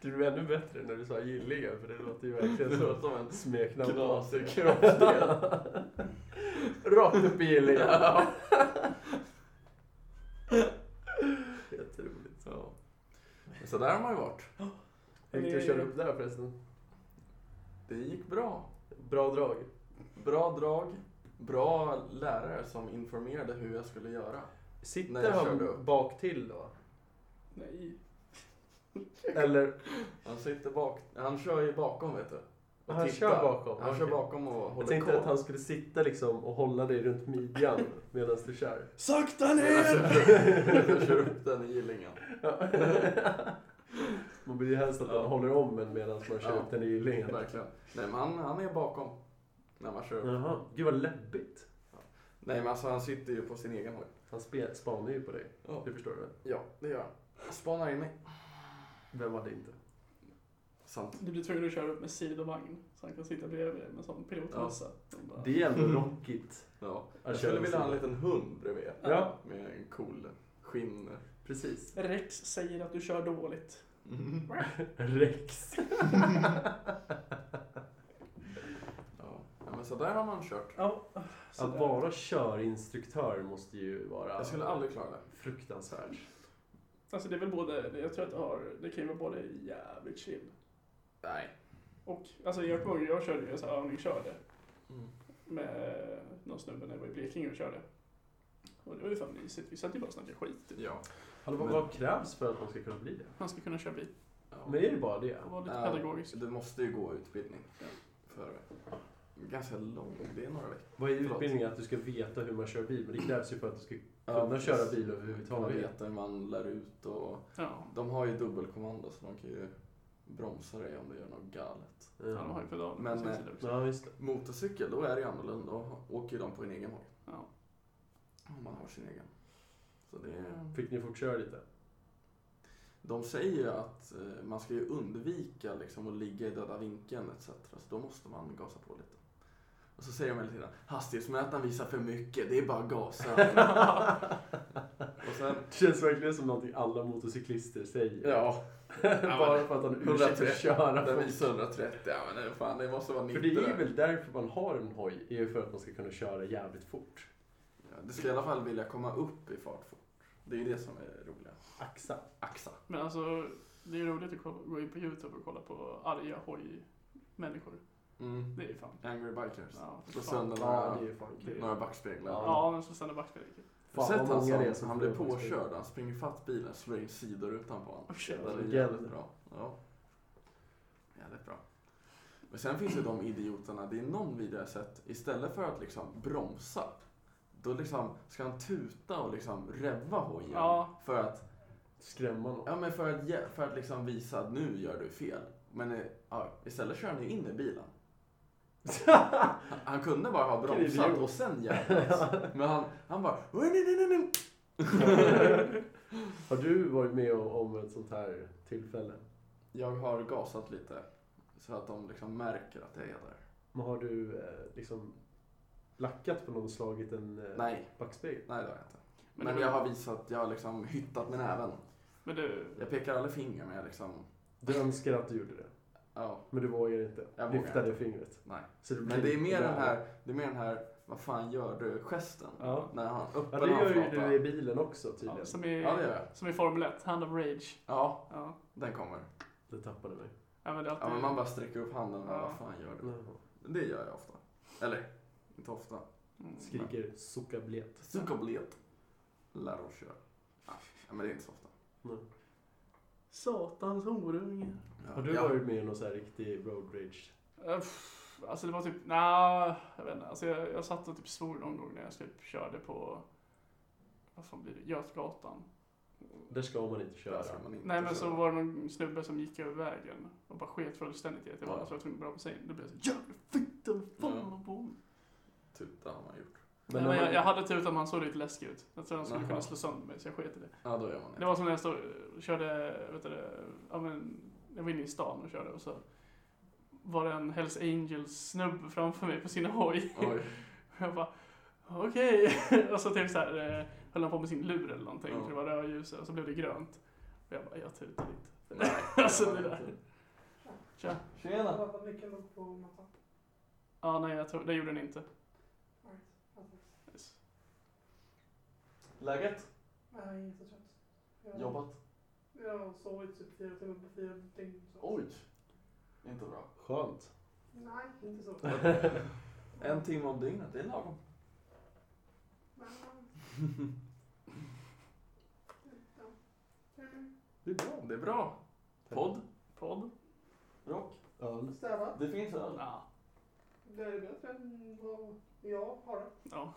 Det blev ännu bättre när du sa Gillingen, för det låter ju verkligen Det som låter som en ett smeknamn. knasig kroppsdel. Rakt upp i Gillingen. Ja. Jätteroligt. Ja. Men Så där har man ju varit. Hur gick det att köra upp där förresten? Det gick bra. Bra drag. Bra drag. Bra lärare som informerade hur jag skulle göra. När Sitter jag körde upp. han bak till då? Nej. Eller Han sitter bak. Han kör ju bakom vet du. Och han tittar. kör bakom? Han kör Okej. bakom och Jag håller tänkte koll. att han skulle sitta liksom och hålla dig runt midjan medan du kör. Sakta Jag kör upp den i Gillingen. Ja. Man vill ju helst att Ja. man håller om en medan man kör Ja. upp den i gillingen. Verkligen. Nej men han, han är bakom. När man kör upp. Jaha, gud vad läbbigt. Nej men alltså han sitter ju på sin egen hoj. Han spe- spanar ju på dig, Ja. det förstår du väl? Ja, det gör han. Spanar in mig. Vem var det inte? Sant. Du blir tvungen att köra upp med sidovagn så han kan sitta bredvid med en sån pilotmössa. Som bara- Det är ändå rockigt. Ja. att Mm. Jag köra skulle vid vilja ha en sidan. liten hund bredvid. Ja, Med en cool skinn. precis. Rex säger att du kör dåligt. Mm. Rex. Ja. ja men så där har man kört. Ja, Att sådär. vara körinstruktör måste ju vara Jag skulle aldrig klara det. fruktansvärt. Alltså det är väl både, jag tror att det har, det kan ju vara både jävligt chill Nej. och, alltså jag kommer ihåg, jag körde ju så här övningskörde Mm. med någon snubbe när jag var i Blekinge och körde. Och det var ju fan mysigt, vi satt ju bara och snackade skit. typ. Ja. Alltså, vad, Men- vad krävs för att man ska kunna bli det? Han ska kunna köra bil Ja. Men är det bara det? och vara lite Ja, pedagogisk. Du måste ju gå utbildning. För ganska lång, det är några veckor. Vad är Förlåt. utbildningen? Att du ska veta hur man kör bil, men det krävs ju för att du ska kunna precis. köra bil Kunna överhuvudtaget. veta hur man lär ut och Ja, de har ju dubbelkommando så de kan ju bromsa dig om du gör något galet. Ja. han har ju pedal på Men, sin eh, sida också. Ja, just det. Motorcykel, då är det ju annorlunda. Då åker ju de på en egen hoj. Ja. Om man har sin egen. Så det är... Fick ni fortköra lite? De säger ju att eh, man ska ju undvika liksom, att ligga i döda vinkeln etc. Så då måste man gasa på lite. Och så säger de hela tiden hastighetsmätaren visar för mycket, det är bara att gasa. Och sen, Det känns verkligen som någonting alla motorcyklister säger. ja, Bara för att han ursäktar 130. köra. den folk. visar 130. Ja, men nej, fan, det måste vara För 90. det är där. väl därför man har en hoj, är ju för att man ska kunna köra jävligt fort. Ja, du ska i alla fall vilja komma upp i fart fort. Det är ju det som är roliga. Axa. Axa. Men alltså, det är roligt att kolla- gå in på Youtube och kolla på arga hoj-människor. Mm. Det är ju fan. Angry Bikers. Ja, för Och fan. sen den Ja, här, det är ju fan kul. några backspeglar. Ja, men så sen är backspegel. Har du Fan, sett vad han många det är som, som han blir får påkörd, han springer fatt bilen, slår in sidorutan på honom. Och kör. Den är Jävlar. jävligt bra. Ja. Jävligt bra. Men sen finns det de idioterna, det är någon video jag har sett, istället för att liksom bromsa, då liksom ska han tuta och liksom revva hojen. Ja. För att, Skrämma någon. ja men för att, ge- för att liksom visa att nu gör du fel. Men eh, ja, istället kör han ju in i bilen. Han, han kunde bara ha Vilken bromsat idiot. och sen jävlas. Men han, han bara, "Oj, nej, nej, nej, nej, Har du varit med om, om ett sånt här tillfälle? Jag har gasat lite Så att de liksom märker att jag är där. Men har du eh, liksom lackat på någon och slagit en eh, Nej. backspegel? Nej, det har jag inte. Men Men, det- jag har visat, jag har liksom hyttat med näven. Men du, Jag pekar aldrig finger, men jag liksom, Du önskar att du gjorde det, ja, men du vågar inte. Jag vågar Lyfta det fingret. nej. Så Men det är mer den där. här, det är mer den här, vad fan gör du-gesten. Ja. När han Ja, öppen det gör ju handflata. du i bilen också tydligen. ja, som, i, Ja, det gör jag. som i Formel 1, Hand of Rage. Ja, Ja, den kommer. Det tappade mig. ja men det är alltid... Ja, men man bara sträcker upp handen och bara, Ja. vad fan gör du? Jaha. Det gör jag ofta. Eller, inte ofta. Mm. Skriker sucka blet. Sukablet. La Roche. Ja, men det är inte så ofta. Satans horunge. Ja. Har du jag, varit med i någon så här riktig road rage? Äh, pff, Alltså det var typ, nja, jag vet inte. Alltså jag, jag satt och typ svor någon gång när jag typ körde på, vad fan blir det, Götgatan. Där ska man inte köra. där ska man inte Nej men så köra. var det någon snubbe som gick över vägen och bara sket fullständigt i att jag var Ja. där så jag var tvungen att bromsa in. Då blev jag så jävla fitta, vad fan Ja. vad på med?" Tuta Typ, har man gjort. Nej, om men jag, man- jag hade tur att man såg lite läskig ut. Jag tror han skulle Jaha. kunna slå sönder mig så jag sket i det. Ja, då gör man det. Det var som när jag stod, körde, vet du, det, ja, men, jag var inne i stan och körde och så var det en Hells Angels snubbe framför mig på sin hoj. Oj. Jag bara, okej. Och så typ så här, eh, höll han på med sin lur eller någonting. Ja. För det var rödljus och så blev det grönt. Och jag bara, jag tutar inte. Nej, Alltså, gör det man där. inte. Tja. Tjena! Ja, nej, jag tror, det gjorde den inte. Alltså, Yes. Läget? Nej, inte trött. Jag, Jobbat? Jag har sovit typ fyra timmar på fyra dygn. så- Oj! Inte bra. Skönt. Nej, inte så. En timme om dygnet, det är lagom. Men, ja. Mm. Det är bra. Det är bra. Podd, Podd? rock. Öl. Städat. Det finns öl. Ja. Det är bättre än vad jag har det. ja.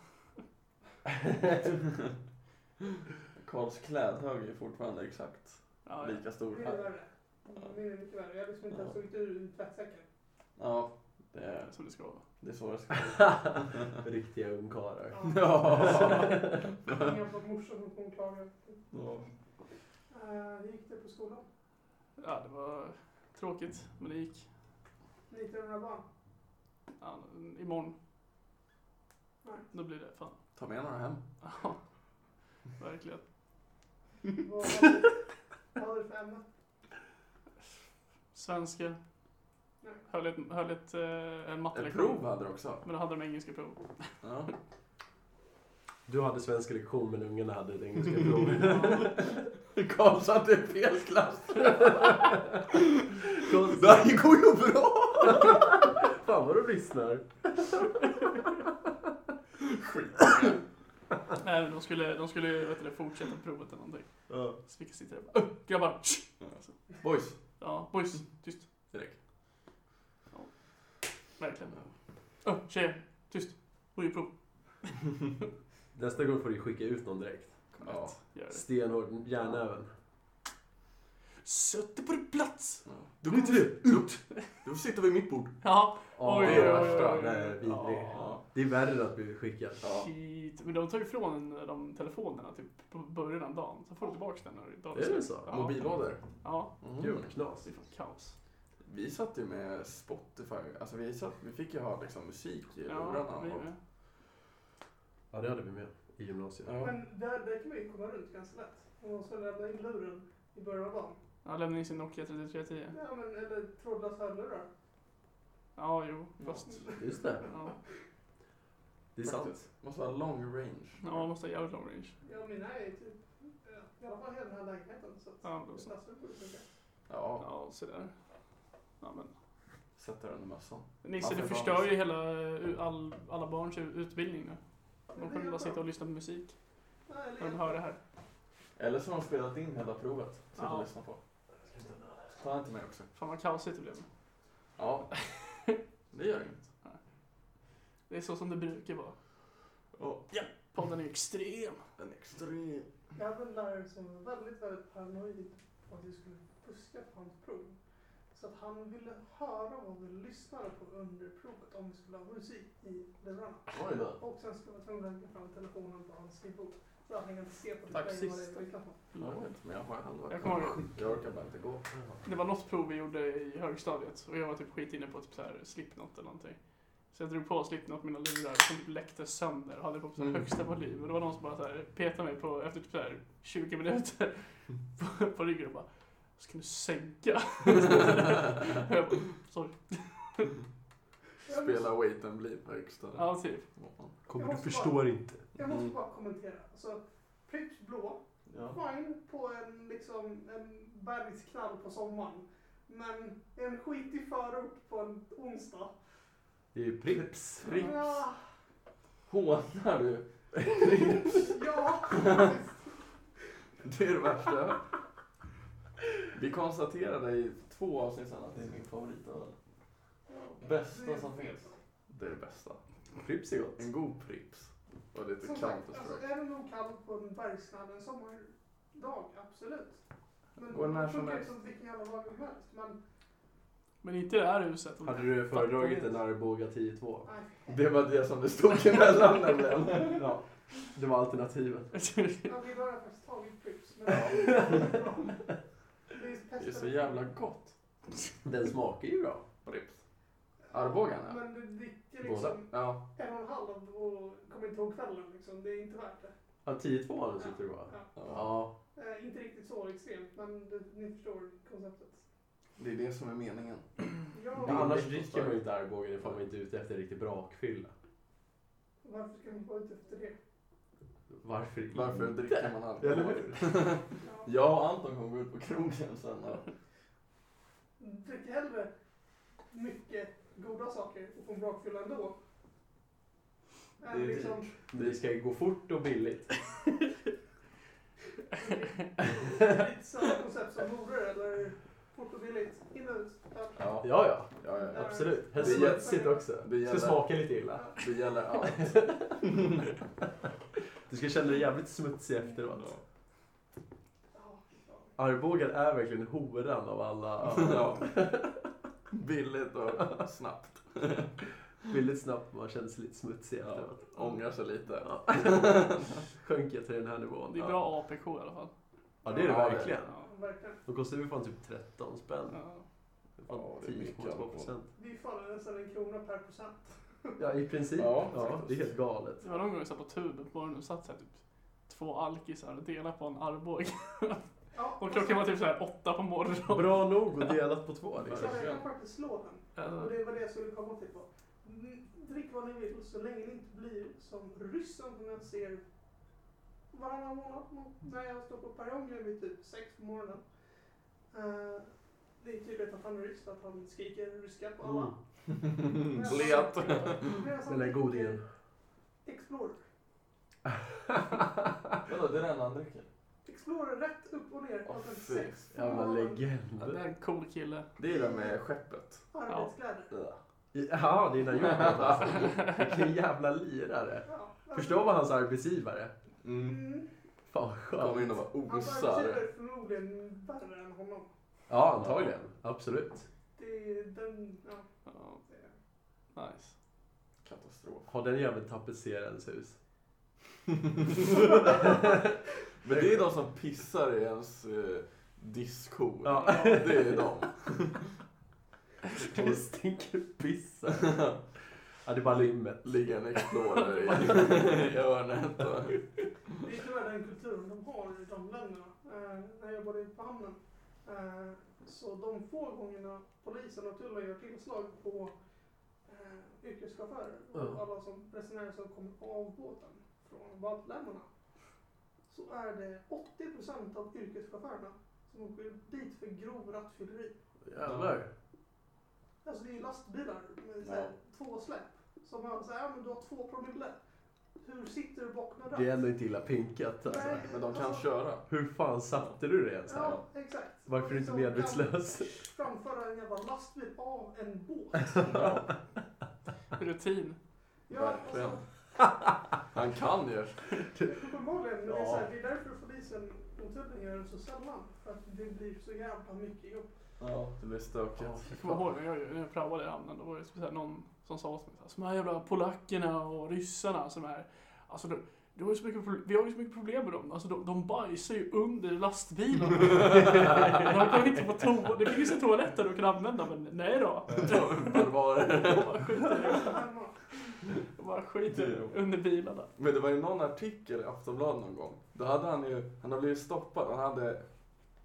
Karls klädhög är fortfarande exakt ja, ja. lika Det stor är här. värre. Det är mycket värre. Jag har liksom inte ens tagit ur tvättsäcken. Ja, det är, Som det ska vara. det är så det ska vara. Riktiga ungkarlar. Ja. Min gamla morsa som hon klagade. Ja. Eh, Hur gick det på skolan? Ja, det var tråkigt, men det gick. Hur gick det med dina barn? Ja, imorgon. Nej. Då blir det fan. Ta med några hem. Ja, verkligen. Vad hade du- vad hade du för ämne? Svenska. Nej. Höll ett, höll ett eh, en Ett mattelektion. prov hade du också. Men då hade de engelska prov. Ja. Du hade svenska lektion men ungarna hade ett engelska prov. Karl satt i fel klass. Konstigt. Det här går ju bra! Fan vad de lyssnar. Nej, men de skulle, de skulle vet du, fortsätta provet eller någonting. Ja. Så fick jag sitta där och bara, "Ö, grabbar! tsch!" Boys, Ja, boys, tyst. det räcker. Verkligen. Ö, tjejer, tyst. Hon prov. Nästa gång får du skicka ut någon direkt. Ja. Gör det. Stenhård järnäven. Sätt dig på din plats! Ja. Då går inte du! Ut! Då sitter vid mitt bord. Ja, Ja, Oj, det är det oj, oj, värsta. oj. Nej, vidrig. Ja. Det är värre att bli skickad. Ja. shit. Men de tar ju ifrån de telefonerna typ på början av dagen. Sen får du tillbaka den när dagen Är det slut. så? Ja. Mobillådor. Ja, Gud vad knas. det är fan kaos. Mm. Vi satt ju med Spotify. Alltså vi, satt, vi fick ju ha liksom musik i Ja, lurarna. vi och- med. Ja, det hade vi med i gymnasiet. Ja. Men där, där kan man ju komma runt ganska lätt. Om man ska lämna in luren i början av dagen. Ja, lämna in sin Nokia 3310. Ja, men, eller trådlösa hörlurar. Ja, jo, fast... Just det. Ja, Det är sant. Måste vara long range. ja man måste ha jävligt lång range. Ja, mina är ju typ, ja, i alla fall hela den här lägenheten. Så att Ja, då så. det passar borde funka. Ja, Ja, sådär. Ja, men. sätta den under mössan. Nisse, Ja, du för fan. förstör ju hela, eh, all, alla barns utbildning nu. De kommer bara sitta och lyssna på musik Ja, eller- när de hör det här. Eller så har de spelat in hela provet. Så Ja. ja. lyssna på. Ta inte med också. Fan vad kaosigt det blev. Ja. Det gör inget. Det är så som det brukar vara. Ja. Podden är extrem. Den är extrem. Jag hade en lärare som var väldigt, väldigt paranoid på att vi skulle fuska på hans prov. Så att han ville höra vad vi lyssnade på under provet om vi skulle ha musik i lurarna. Oj då. Och sen skulle vi tvungna att lägga fram telefonen på hans skrivbord. Så att han kan se på Tack, vad det är sist. på julafton. Jag vet inte, men jag har ändå... Jag kommer ihåg. Jag orkar bara inte gå. Det var något prov vi gjorde i högstadiet och jag var typ skitinne på typ så här Slipknot eller någonting. Så jag drog på Slipknot mina lurar som typ läckte sönder och hade på så här Mm. högsta volym. Och det var någon som bara så här petade mig på, efter typ så här 20 minuter på, på ryggen och bara Ska du sänka? Och jag bara, Sorry. Spela Wait and Bleed på högsta. Ja, typ. Kommer du förstår inte. Jag måste Mm. bara kommentera. Alltså, Pripps blå, Ja. fine på en, liksom, en bergsknall på sommaren. Men en skitig förort på en onsdag. Det är ju Pripps. Rips. Ja, Hånar du? ja faktiskt. Det är det värsta jag hört. Vi konstaterade i två avsnitt sedan att det är min favoritöl. Bästa som finns. Det är det bästa. Pripps är gott. En god Prips. Och lite Som sagt, alltså, Counter-Strike. är det nog kallt på en bergsknall en sommardag, absolut. Men Går när det som funkar ju helst. som vilken jävla dag som helst. Men Men inte i det här huset. Hade du föredragit en Arboga 10-2? nej, Det var det som det stod emellan nämligen. Ja, det var alternativet. ja, vi har faktiskt tagit Pripps. Men det är bra. Det Det är bästa. så jävla gott. Den smakar ju bra. Prips. Arbogan, ja. Men du dricker Båda. liksom Ja. en och en halv och kommer inte ihåg kvällen liksom. Det är inte värt det. Ja, 10-2 hade tyckte du var. ja. Ja. Eh, inte riktigt så extremt, men du, ni förstår konceptet. Det är det som är meningen. Ja, Ja, Annars det- dricker man ju inte Arboga ifall man inte är ute efter en riktig brakfylla. varför ska man vara ute efter det? Varför inte? Varför dricker man Eller alkohol? hur? Ja. Jag och Anton kommer gå ut på krogen sen. och- Mm, Drick hellre mycket goda saker och få en brakfylla ändå. Det är Än liksom, Det ska ju gå fort och billigt. lite samma koncept som horor eller fort och billigt. In och ut. Ja. Ja, ja, Ja, ja. ja. ja. Absolut. Det är Hälsomässigt också. Det Ska gäller, smaka lite illa. det gäller allt. Du ska känna dig jävligt smutsig efteråt. Ja, ja. Arboga är verkligen horan av alla. Ja. Billigt och snabbt. Billigt snabbt, man känner sig lite smutsig Ja. efteråt. Ångrar sig lite. Ja. Sjönk jag till den här nivån. Det är bra APK i alla fall. Ja, det är det Ja, det- verkligen. Ja. Verkligen. De kostar ju fan typ 13 spänn. Ja. Ja, Fan, det är mycket 10,2 alkohol. procent. Vi faller nästan en krona per procent. Ja, i princip. Ja, Ja, faktiskt. det är helt galet. Det var någon gång jag satt på tuben på morgonen och satt så här typ två alkisar och delade på en armbåge. Ja, Och klockan var så- typ så här åtta på morgonen. Bra nog att delat på två så liksom. här, Jag kan faktiskt slå den. Och Ja. det var det jag skulle komma till. På. Mm, Drick vad ni vill så länge ni inte blir som ryssen som jag ser varannan månad nå- när jag står på perrongen vid typ sex på morgonen. Eh, det är tydligt att han är ryss för att han skriker ryska på alla. Mm. Medan han- Blet. medan han Den är god dricker igen. Explorer. Vadå, det är den han dricker? Explorer rätt upp och ner. Åh, klockan fy. sex på Jävla morgonen. Det är legend. en cool kille. Det är den med skeppet. Arbetskläder. Ja. Ja, det är den jag alltså. Vilken jävla lirare. Ja. Förstår vad hans arbetsgivare. Mm. Mm. Fan vad Kommer in skönt. och bara Hans osar. arbetsgivare är förmodligen värre än honom. Ja, antagligen. Absolut. Det är den, ja. Ja, det är- nice. Katastrof. Har den jäveln tapetserat ens hus? Men det är de som pissar i ens eh, diskho. Ja. Det är de. Det stinker piss. Ja, det är bara limmet. Ligger en Explorer i, i hörnet. Och... Det är tyvärr den kulturen de har i de länderna. Eh, när jag bodde på hamnen. Eh, så de få gångerna polisen och tullen gör tillslag på eh, yrkeschaufförer och Ja. alla som resenärer som kommer av båten från Baltländerna. Så är det 80% av yrkeschaufförerna som åker dit för grov rattfylleri. Jävlar. Alltså det är ju lastbilar med så här, två släp. Som har så här, ja men du har två promille. Hur sitter du bakom en ratt? Det är ändå inte illa pinkat alltså. Nej. Men de kan köra. Hur fan satte du det ens här? Ja, exakt. Varför är du inte Som kan medvetslös? Framföra en jävla lastbil av en båt. Rutin. Ja, Verkligen. alltså, Han kan ju. uppenbarligen. men Det, är så Ja. här, det är därför polisen och tullen gör det så sällan. För att det blir så jävla mycket jobb. Ja, det det är stökigt. Ja. Jag kommer ihåg när jag, när jag praoade i hamnen, då var det typ så här någon som sa åt mig så här, "Så de här jävla polackerna och ryssarna som är, alltså de, de har ju så mycket, pro- vi har ju så mycket problem med dem, alltså de, de bajsar ju under lastbilarna. de kommer inte på toa, det finns ju toaletter de kan använda men nej då. Barbarer. De bara skiter, Armar. de bara skiter under bilarna. Men det var ju någon artikel i Aftonbladet någon gång. Då hade han ju, han hade blivit stoppad. Han hade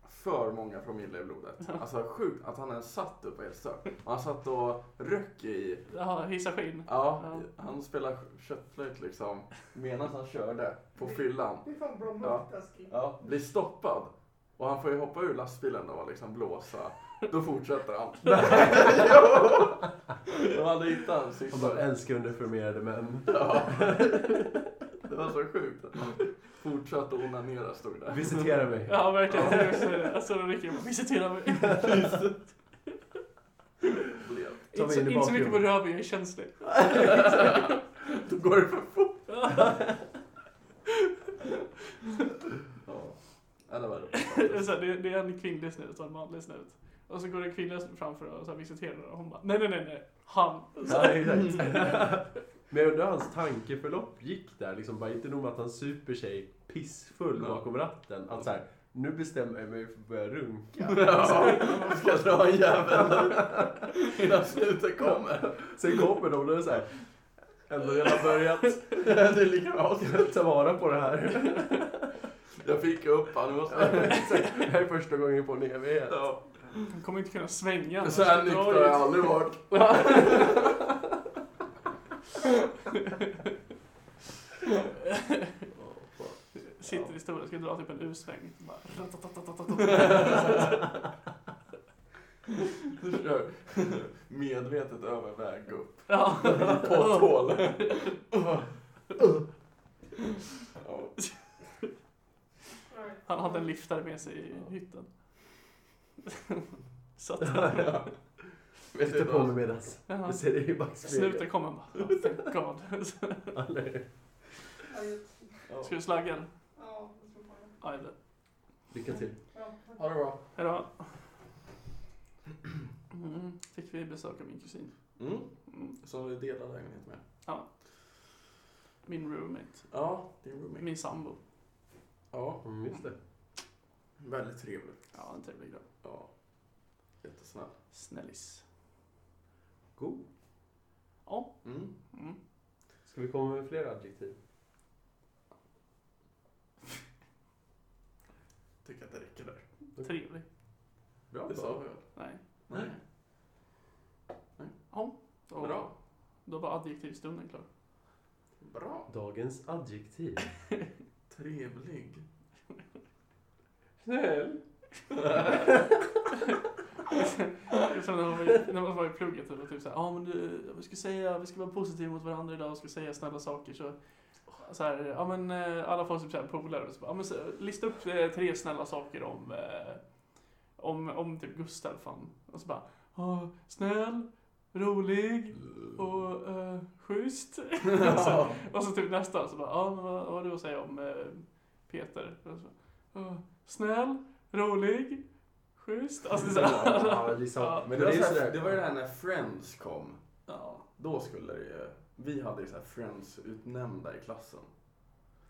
för många promille i blodet. Alltså sjukt att han ens satt upp och helt stört. Och Han satt och röck i Jaha, hissa skinn. Ja, Ja. han spelade köttflöjt liksom medan han körde på fyllan. Det är fan bra Ja. multitasking. Ja, blir stoppad och han får ju hoppa ur lastbilen och liksom blåsa. Då fortsätter han. Nej, jo! De hade hittat hans Han bara syster. älskar underformerade män. Ja. Det var så sjukt. Fortsatt att onanera stod det. Visitera mig. Ja verkligen. Det är också- Alltså de rycker, visitera mig. Blev. Ta Inte, mig in i inte så mycket på bakgrunden. röven, jag är känslig. Då går det för fort. Ja, Ja, det var Det är roligt. så här, det, det är en kvinnlig snut och en manlig snut. Och så går det en kvinnlig snut framför och så här visiterar den och hon bara nej nej nej nej, han. Så Nej, här, exakt. Men jag undrar hur hans tankeförlopp gick där. Liksom bara inte nog med att han super sig pissfull Ja. bakom ratten. Att så här, nu bestämmer jag mig för att börja runka. Ja, man ska dra en jävel innan slutet kommer. Sen kommer de och då är det så här. Ändå redan börjat Det är lika bra. ta vara på det här. Jag fick upp han, nu måste Det här är första gången på en evighet. Ja. Han kommer inte kunna svänga. annars. Så här nykter har jag Oj. aldrig varit. Sitter i stolen, ska dra typ en U-sväng. Bara, Du kör medvetet över väg upp. Ja. På tål. Ja. Nej. Han hade en liftare med sig i hytten. Så att Ja. Vet du Titta på mig vad? medans. ja, Jag ser dig i backspegeln. snuten kom han bara, oh, thank god. Eller- Ska du slagga den? Ja, det tror jag. Aj då. Lycka till. Ja, tack. Ha det bra. Hejdå. Mm, fick vi besöka min kusin. Mm. Mm, Som du delar lägenhet med. min roommate. Ja, din roommate. Min sambo. Ja, Mm, just det. väldigt trevlig. Ja, en trevlig grabb. Ja. Jättesnäll. Snällis. God. Ja. Mm. Mm. Ska vi komma med fler adjektiv? Tycker att det räcker där. Trevlig. Bra, det sa vi väl? Nej. Nej. Då, Bra. Då var adjektivstunden klar. Bra. Dagens adjektiv. Trevlig. Snäll. Som när man var i- när man var i plugget och typ såhär, ja men du, vi ska säga, vi ska vara positiva mot varandra idag och ska säga snälla saker så så här, ja men eh, alla får typ såhär polare och så bara, ja men så, lista upp eh, tre snälla saker om, eh, om, om typ Gustav fan. Och så bara, ja snäll, rolig och eh, schysst. och, så, Alltså, och så typ nästa så bara, ja men vad, vad har du att säga om eh, Peter? Och så, bara, "Ja, snäll, rolig, schysst. Alltså det är så här, Ja, liksom. Ja, Men det var, är så sådär- här, det var ju det här när Friends kom. ja. Då skulle det ju... Vi hade ju så här Friends-utnämnda i klassen.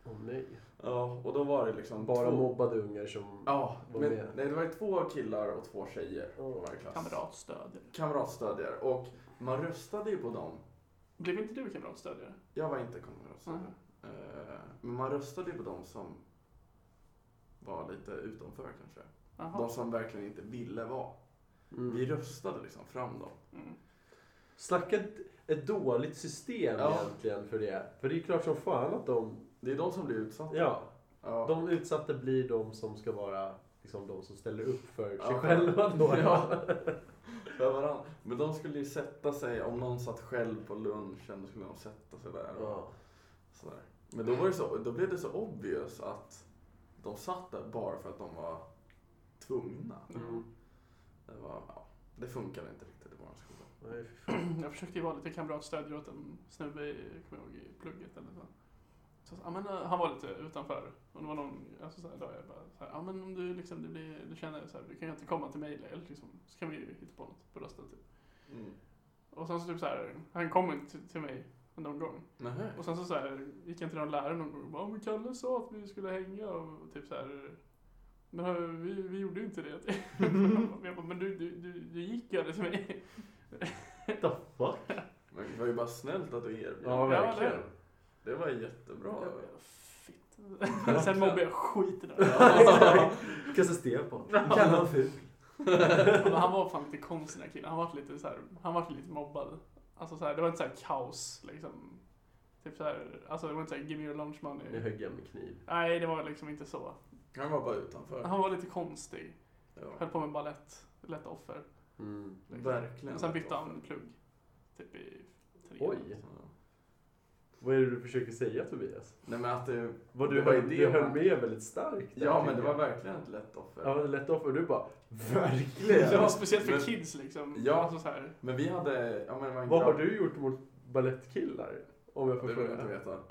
Åh nej. Ja, och då var det liksom Bara två... mobbade ungar som... Ja, Var men med. nej, det var ju två killar och två tjejer i Ja. varje klass. Kamratstödjare. Kamratstödjare. Och man röstade ju på dem. Blev inte du kamratstödjare? Jag var inte Mm. kamratstödjare. Eh, Men man röstade ju på dem som var lite utanför kanske. De Jaha. som verkligen inte ville vara. Mm. Vi röstade liksom fram dem. Mm. Snacka ett, ett dåligt system Ja. egentligen för det. För det är klart som fan att de... Det är de som blir utsatta. Ja, Ja. de utsatta blir de som ska vara liksom de som ställer upp för sig Ja. själva då. Ja. För varandra. Men de skulle ju sätta sig, om någon satt själv på lunchen, då skulle de sätta sig där. Och Ja. sådär. Men då, var det så, då blev det så obvious att de satt där bara för att de var tvungna. Mm. Det, var, ja, det funkade inte riktigt i vår skola. Nej, fy fan. Jag försökte ju vara lite kamratstödjare åt en snubbe i, jag kommer ihåg, i plugget eller så. Så så, ja, men, eh, han var lite utanför. Och det var någon alltså, så här, dag jag bara, så här, ja men om du liksom, det blir, du känner så här, du kan ju inte komma till mig eller liksom, så kan vi ju hitta på något på rösten typ. Mm. Och sen så typ så här, han kom inte till, till mig någon gång. Nähä. Och sen så, så här, gick jag till någon lärare någon gång och bara, "Ja, men Kalle sa att vi skulle hänga och typ så här. Men eh, vi, vi gjorde ju inte det. Men jag bara, men du, du, du, du gick ju aldrig till mig. The fuck? Men det var ju bara snällt att du erbjöd. Ja, verkligen. det- Det var jättebra. Jag bara, Fitt. Sen mobbade jag skiten ur honom. Ja. Kasta sten på honom. Kalla honom ful. Men Han var fan lite konstig den här killen. Han var lite, så här, han var lite mobbad. Alltså så här, det var inte så här kaos liksom. Typ så här, alltså det var inte så här give me your lunch Nu money. högg jag med kniv. Nej, det var liksom inte så. Han var bara utanför. Han var lite konstig. Ja. Höll på med ballett. Lätt offer. Mm. Liksom. Verkligen. Och sen bytte han plugg. Typ i tre. Oj. Ja. Vad är det du försöker säga Tobias? Nej men att det... Vad du, Det var höll, ju det du höll man- med väldigt starkt. där, Ja men tycker det var jag. verkligen ett lätt offer. Ja, men lätt off och du bara Ja. Det verkligen. var speciellt för Men- kids liksom. Ja. Alltså så här. Men vi hade... Ja, men det var en Vad har grabb- du gjort mot ballettkillar? Om jag får Det vill jag inte fråga. veta.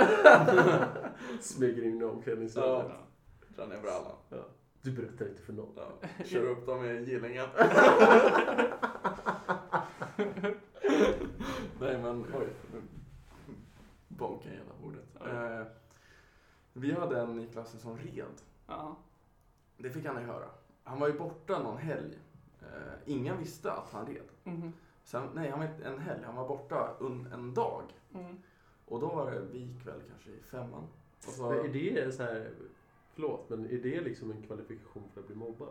Smyger in i omklädningsrummet. Ja. Dra ner brallan. Du berättar inte för någon. Ja. Kör upp dem i gillingen. Nej men oj. Nu bonkar jag hela bordet. Ja. Eh, vi hade en i klassen som red. Ja. Det fick han ju höra. Han var ju borta någon helg. Eh, ingen visste att han red. Mhm. Sen, nej, han var inte en helg. Han var borta un, en dag. Mm. Och då var det, vi gick väl kanske i femman. Och så, Men är det så här, förlåt, men är det liksom en kvalifikation för att bli mobbad?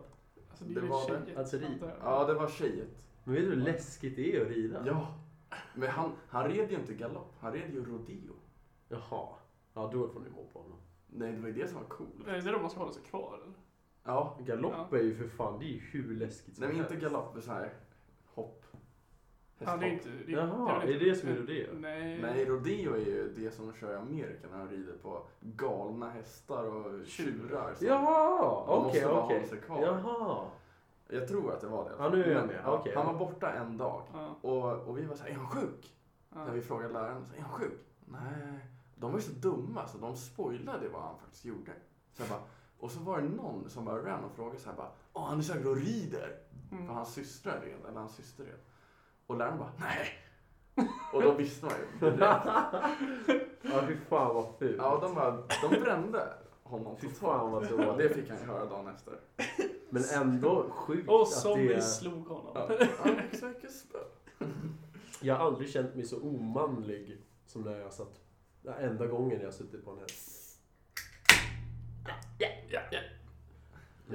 Alltså det, Det är ju var det. tjejer. Alltså, det- antar jag. ja, det var tjejet. Men vet du hur läskigt det är att rida? Ja. Men han, han red ju inte galopp. Han red ju rodeo. Jaha. Ja, då får ni mobba honom. Nej, det var ju det som var coolt. Är det då man ska hålla sig kvar eller? Ja. Galopp är ju för fan, det är ju hur läskigt som Nej, men inte helst. galopp. Men så här hopp. Ja, det är inte... Det, Jaha, väl är inte- det som är rodeo? Nej. Nej, rodeo är ju det som de kör i Amerika när de rider på galna hästar och tjurar. som- Jaha, De måste okej, bara okej. hålla sig kvar. Jaha. Jag tror att det var det. Ja, nu är jag Men, med. ja, Okej. Han var borta en dag. Ja, Och, och vi var så här, är han sjuk? ja. När vi frågade läraren, så här, är han sjuk? Nej. De var ju så dumma så de spoilade vad han faktiskt gjorde. Så jag bara, och så var det någon som bara ran och frågade så här bara, Åh, han är säkert och rider. Mm. För hans systrar red, eller hans syster red. Och läraren bara, nej. Och då visste man ju direkt. Ja, fy fan vad fult. Ja, de, bara, de brände honom Fy fan vad Och det dåligt. fick han ju höra dagen efter. Men ändå sjukt Och att som vi det... slog honom. Ja. Säker spö. Jag har aldrig känt mig så omanlig som när jag satt... Den enda gången jag suttit på en häst. Det är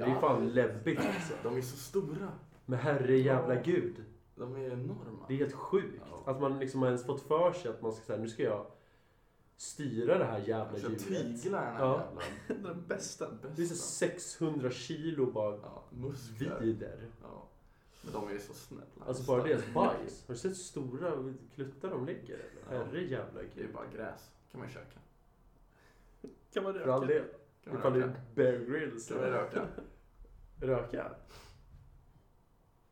Ja, fan läbbigt alltså. de är så stora. Men herre jävla gud. De är enorma. Det är helt sjukt. Ja. Att man liksom har ens fått för sig att man ska säga nu ska jag styra det här jävla Jag djuret. tyglar den här Ja. jävla... Den bästa. Det är så 600 kilo bara Ja, muskler. vider. Ja. Men de är ju så snälla. Alltså bara deras bajs. Har du sett hur stora kluttar de lägger? eller? Ja. Herre jävla Det är ju gud. bara gräs. kan man ju käka. Kan man För all röka? del. Kan man Ifall det är röka. Bear Grylls. Kan man röka. Röka?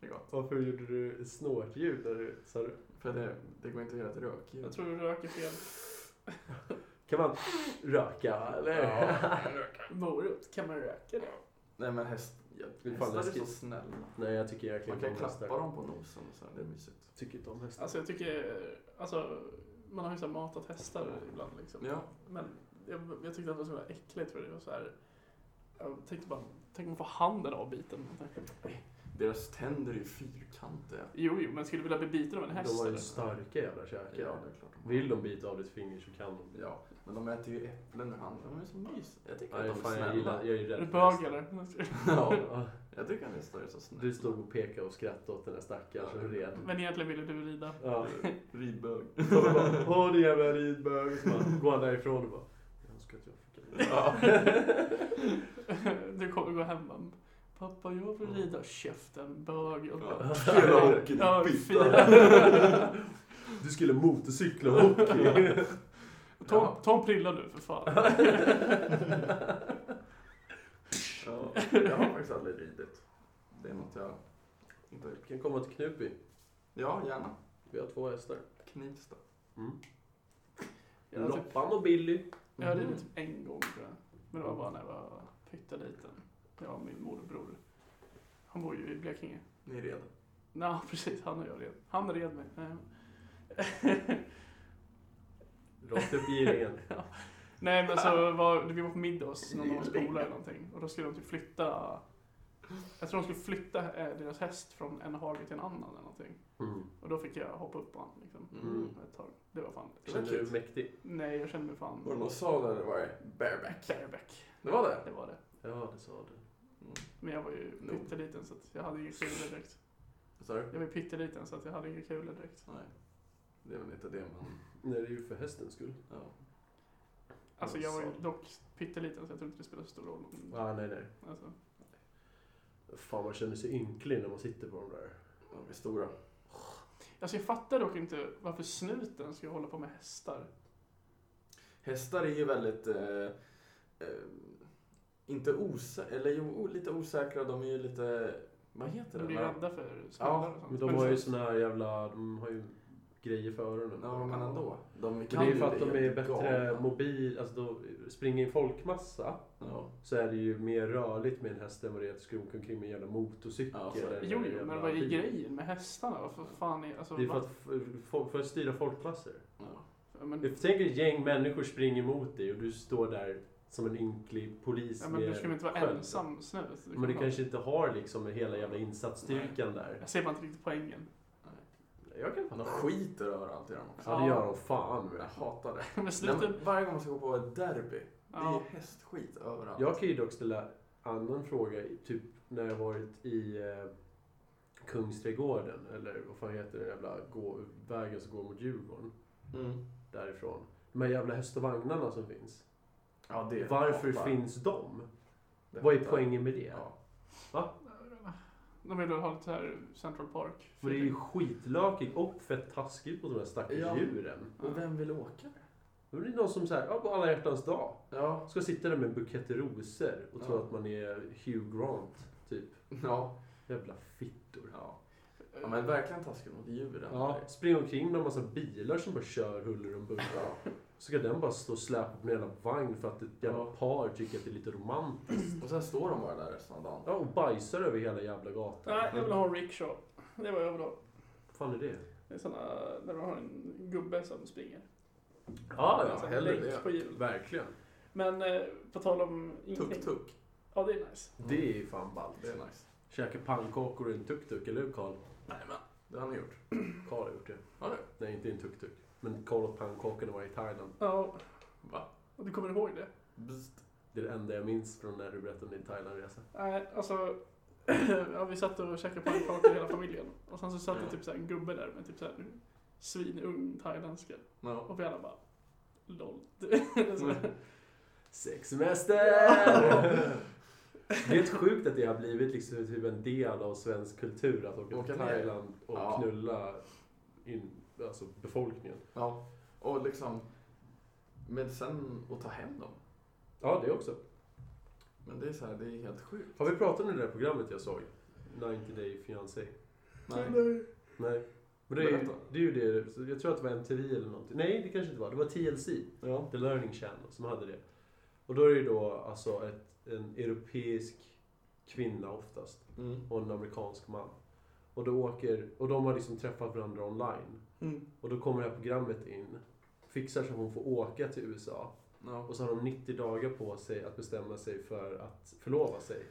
Det är gott. Varför gjorde du snortljud när du sa det? För det, det går inte att göra ett rökljud. Jag tror du röker fel. Kan man röka eller? Ja, kan röka. Morot, kan man röka det? Nej men häst, ja, Det är fan hästar är så läskigt. snälla. Nej jag tycker Man verkligen kan inte om hästar. klappa dem på nosen och så. här, Det är mysigt. Tycker inte om hästar. Alltså jag tycker, alltså man har ju så här matat hästar ibland liksom. Ja. Men jag, jag tyckte att det var så jävla äckligt för det var så här. Jag tänkte bara, tänk om man får handen avbiten. Deras tänder är ju fyrkantiga. Jo, jo, men skulle du vilja bli biten av en häst de har ju eller? starka jävla käkar. Ja, det är klart de har. Vill de bita av ditt finger så kan de det. Ja, men de äter ju äpplen ur handen. De är så mysiga. Jag tycker Nej, att de är fan, jag, gillar, snälla. jag är ju Är rädd du för bög eller? hästar. Ja, Ja, jag tycker att hästar är så snälla. Du stod och pekade och skrattade åt den där stackaren som red. Men egentligen ville du rida. Ja. Ridbög. Så de bara, Åh din jävla ridbög. Så bara går han därifrån och bara, jag önskar att jag fick en Ja. Du kommer gå hem och Pappa, jag vill Mm. rida. Käften, bög. Och bara, Spela hockey, Ja, du fyra. bytta. Du skulle motorcykla och hockey. Ta, ta en prilla nu för fan. Ja, jag har faktiskt aldrig ridit. Det är något jag inte har gjort. kan komma till Knutby. Ja, gärna. Vi har två hästar. Knivsta. Mm. Jag har typ- Loppan och Billy. Jag hade det typ en gång tror jag. Men det var bara när jag var pytteliten. Jag och min morbror. Han bor ju i Blekinge. Ni är redo. Ja, precis. Han och jag red. Han red mig. Nej. Rakt upp giringen. Ja. Nej, men så var vi var på middag hos någon annan skola eller någonting. Och då skulle de typ flytta. Jag tror de skulle flytta eh, deras häst från en hage till en annan eller någonting. Mm. Och då fick jag hoppa upp på honom liksom. Mm. Ett tag. Det var fan. Känner du dig mäktig? Nej, jag kände mig fan. Var det någon sal eller var det bareback? Mm. Bareback. Det var det? Det var det. Ja, det sa du. Men jag var ju Nog. pytteliten så att jag hade inga kulor direkt. Vad sa du? Jag var ju pytteliten så att jag hade inga kulor direkt. Nej. Det är väl inte det man... Nej, det är ju för hästens skull. Ja. Alltså jag var ju Så. dock pytteliten så jag tror inte det spelar så stor roll. Ah, nej, nej. Alltså, Fan, man känner sig ynklig när man sitter på de där. De är stora. alltså jag fattar dock inte varför snuten ska hålla på med hästar. Hästar är ju väldigt... Eh, eh, inte osäkra, eller jo, o- lite osäkra. De är ju lite... Vad heter det? De blir När- rädda för smällar och sånt. Men de har ju så- såna här jävla... De har ju grejer för öronen. Ja, men ändå. De Det kan är ju ju för att bli de är helt bättre galna. mobil, alltså då springer i en folkmassa Ja. så är det ju mer rörligt med en häst än vad det är att skroka omkring med en jävla motorcykel. Ja, så är det. eller en alltså, Jo, jo, jävla men vad är bil. grejen med hästarna? Varför fan är... Alltså, Det är för va- att, f- folk- för att styra folkmassor. Ja. ja, men, Tänk dig ett gäng människor springer mot dig och du står där som en ynklig polis ja, men du med ska väl inte vara sköld. ensam snut? Du Men du kan- kanske inte har liksom hela jävla insatsstyrkan där. Jag ser bara inte riktigt poängen. Jag kan De fatta. skiter överallt i dem också. Ja, det gör de fan. Jag vet. hatar det. Men Nej, snuten... men varje gång man ska gå på ett derby, det är Ja. hästskit överallt. Jag kan ju dock ställa annan fråga, i- typ när jag varit i eh, Kungsträdgården, eller vad fan heter den jävla gå, vägen som går mot Djurgården, Mm. därifrån. De här jävla häst och vagnarna som finns. Ja, det Varför hatar- finns de? det Vad är hatar- poängen med det? Ja. De vill väl ha lite så här Central Park. För det är ju skitlökigt och fett taskigt på de här stackars Ja. djuren. Och vem vill åka? Då blir det någon som säger, ja på alla hjärtans dag. Ja. Ska sitta där med en bukett rosor och tro Ja. att man är Hugh Grant, typ. Ja. Jävla fittor. ja. Ja, men verkligen taskigt mot djuren. Ja, spring omkring med en massa bilar som bara kör huller om buller. Så ska den bara stå och släpa på en jävla vagn för att ett jävla Ja. par tycker att det är lite romantiskt. Och sen står de bara där resten av dagen. Ja, och bajsar över hela jävla gatan. Nej, jag vill ha en rickshaw. Det är vad jag vill ha. Vad fan är det? Det är såna där man har en gubbe som springer. Ja, En sån här Alltså, hellre länk det. På hjul. Verkligen. Men eh, på tal om ingenting. Tuk-tuk. Ja, det är nice. Mm. Det är ju fan ballt. Det är nice. Käka pannkakor i en tuk-tuk, eller hur Karl? Nej, men det har ni gjort. Karl har gjort det. Har du? Nej, inte i en tuk-tuk. Men Karl åt pannkakor när han var i Thailand. Ja, Va? och du kommer ihåg det? Bzzt. Det är det enda jag minns från när du berättade om din Thailandresa. Nej, alltså. ja, vi satt och käkade pannkakor hela familjen. Och sen så satt det typ så här en gubbe där med typ så här svinung thailändska. Ja. Och vi alla bara LOL. så, Sexsemester! Det är helt sjukt att det har blivit liksom typ en del av svensk kultur att åka Åka till ner. Thailand och Ja. knulla in, alltså befolkningen. ja. Och liksom... Men sen att ta hem dem. Ja, det också. Men det är så här, det är helt sjukt. Har vi pratat om det där programmet jag såg? 90 Day Fiancé? Nej. Nej. Men det är, ju- Berätta. det är ju det, så jag tror att det var MTV eller någonting. Nej, det kanske inte var. Det var TLC, Ja. The Learning Channel, som hade det. Och då är det ju då alltså ett, en europeisk kvinna oftast. Mm. och en amerikansk man. Och, då åker, och de har liksom träffat varandra online. Mm. Och då kommer det här programmet in. Fixar så att hon får åka till USA. Ja. Och så har de 90 dagar på sig att bestämma sig för att förlova sig.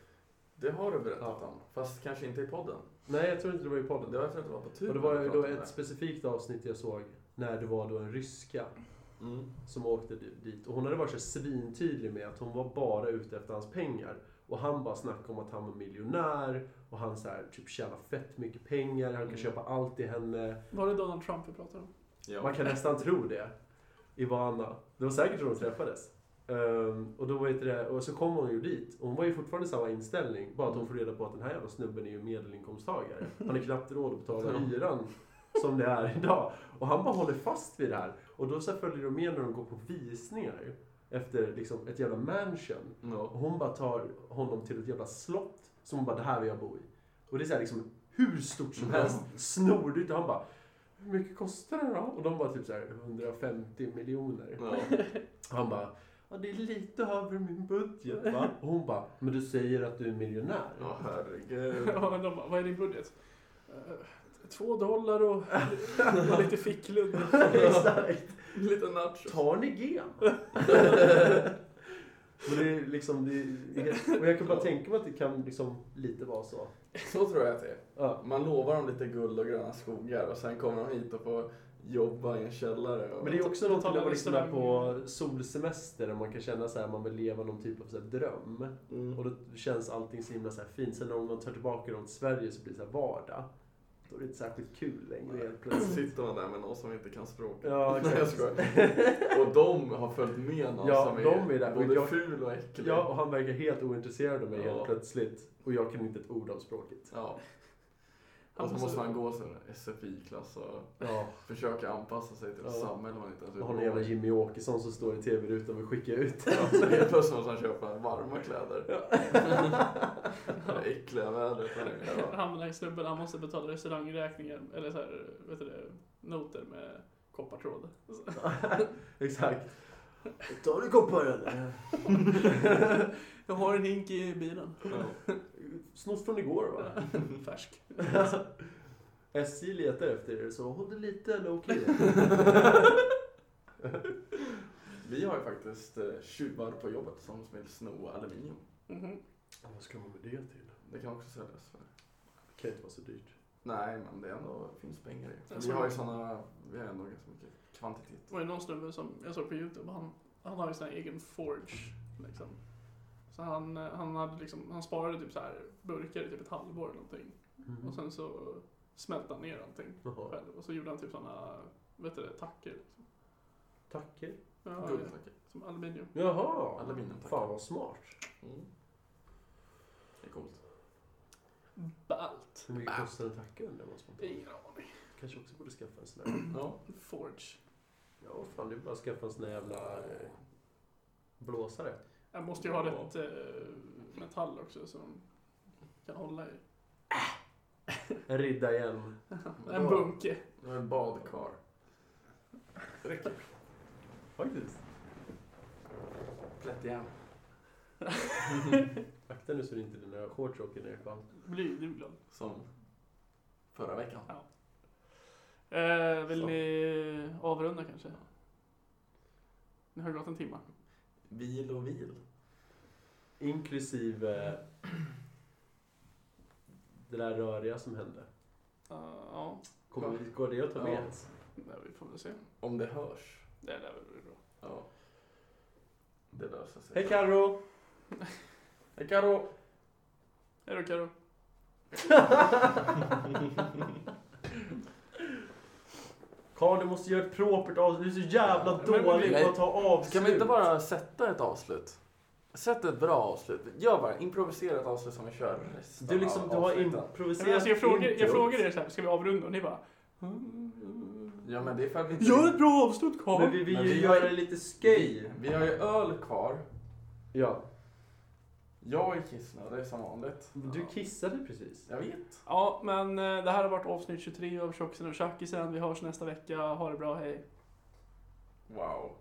Det har du berättat Ja. om. Fast kanske inte i podden. Nej, jag tror inte det var i Det podden. var jag tror att det var på tur. och det var ju då speciellt... ett specifikt avsnitt jag såg när det var då en ryska Mm. som åkte di- dit. Och hon hade varit så svintydlig med att hon var bara ute efter hans pengar. Och han bara snackade om att han var miljonär och han så här, typ tjänar fett mycket pengar, han kan Mm. köpa allt till henne. var det Donald Trump vi pratade om? Ja. Man kan nästan tro det. Ivana. Det var säkert så de träffades. Ehm, och, då var inte det, och så kom hon ju dit. Och hon var ju fortfarande samma inställning. Bara Mm. att hon får reda på att den här jävla snubben är ju medelinkomsttagare. Han har knappt råd att betala Ja. hyran som det är idag. Och han bara håller fast vid det här. Och då så här följer de med när de går på visningar. Efter liksom ett jävla mansion. Och Ja. hon bara tar honom till ett jävla slott. Som hon bara, det här vill jag bo i. Och det är så här liksom hur stort som helst. Snordyrt. Och han bara, hur mycket kostar det då? Och de bara typ så här 150 miljoner. Ja. Och han bara, Ja, det är lite över min budget va? Och hon bara, men du säger att du är miljonär. Ja, herregud. Ja, de bara, vad är din budget? Eh, Två dollar och, och lite ficklund. Exakt. Lite nachos. Tar ni gen? Men det är liksom, det är, och jag kan bara tänka mig att det kan liksom lite vara så. Så tror jag att det är. Ja. Man lovar dem lite guld och gröna skogar och sen kommer de hit och får jobba i en källare. Och... Men det är också något när Betala man liksom är på restaurang. solsemester och man kan känna så här, man vill leva någon typ av så här dröm. Mm. Och då känns allting så himla så här fint. Sen om man tar tillbaka dem till Sverige så blir det så här vardag. Då är det inte särskilt kul längre helt plötsligt. Sitter man där med någon som inte kan språket. Ja, Nej, jag skojar. Och de har följt med någon Ja, som är, de är där. både Men jag- ful och äcklig. Ja, och han verkar helt ointresserad av mig Ja. helt plötsligt. Och jag kan inte ett ord om språket. Ja. Han Och så måste- måste man gå sin SFI-klass och Ja. försöka anpassa sig till ett Ja. samhälle man inte ens Och har någon jävla Jimmy Åkesson som står i tv-rutan och skickar ut Ja, så Helt plötsligt måste han köpa varma kläder. det äckliga vädret. här. Han den här snubben, han måste betala restaurangräkningar, eller så här, vet du det, noter med koppartråd. Exakt. Tar du koppar eller? Jag har en hink i bilen. Ja. Snott från igår va? Färsk. SJ letar efter er så håll det lite low key. Vi har ju faktiskt eh, tjuvar på jobbet som vill sno aluminium. Mhm. Vad ska man med det till? Det kan också säljas för. Det kan inte vara så dyrt. Nej, men det är ändå, finns pengar i. Jag Vi tror har ju det. sådana, vi har ändå ganska mycket kvantitet. Det var ju någon snubbe som jag såg på Youtube, han, han har ju sin egen forge. Liksom. Så han, eh, han, hade liksom, han sparade typ så här burkar i typ ett halvår eller någonting. Mm. Och sen så smälte han ner allting Jaha. själv. Och så gjorde han typ såna, vet du det, tacker. Liksom. Tacker. Ja, Guld, tack. som aluminium. Jaha. Aluminium, tack. Fan vad smart. Mm. Det är coolt. Ballt. Hur mycket kostar en tacka undrar man spontant. Ingen aning. Kanske också borde skaffa en sån här. Ja. Forge. Ja, fan det är bara att skaffa en sån här jävla eh, blåsare. Jag måste ju ha Ja. rätt eh, metall också som kan hålla i. En riddarhjälm. Men En då- bunke. Jag har en badkar. Faktiskt. Plättjärn. Akta nu så det inte dina shorts åker ner i sjön. Blydulan. Som förra veckan. Eh, vill Så. ni avrunda kanske? Nu har det gått en timme. Vil och vil. Inklusive eh, det där röriga som hände. Eh, ja, Kommer, går det att ta med Ja. ens? nej, vi får väl se. Om det hörs. Det där väl bli bra. Ja. Det löser sig. Hej Carro! Hej Karo! Hej då Carro. Karl du måste göra ett propert avslut. Du är så jävla Men- men- dålig på Nej. att ta avslut. Ska man inte bara sätta ett avslut? Sätt ett bra avslut. Gör bara, improvisera ett avslut som vi kör resten Du, liksom, av du har avsnitten. Men improviserat alltså, jag, frågar, jag introt. frågar er så här, ska vi avrunda? Och ni bara... Ja men det är för att vi inte... Gör ett bra avslut Carl! Men vi vill Men ju vi har- göra lite skoj. Vi har ju öl kvar. Ja. Jag är kissnödig som vanligt. Du kissade precis. Jag vet. Ja, men eh, det här har varit avsnitt 23 av Tjockisen och Tjackisen. Vi hörs nästa vecka. Ha det bra, hej. Wow.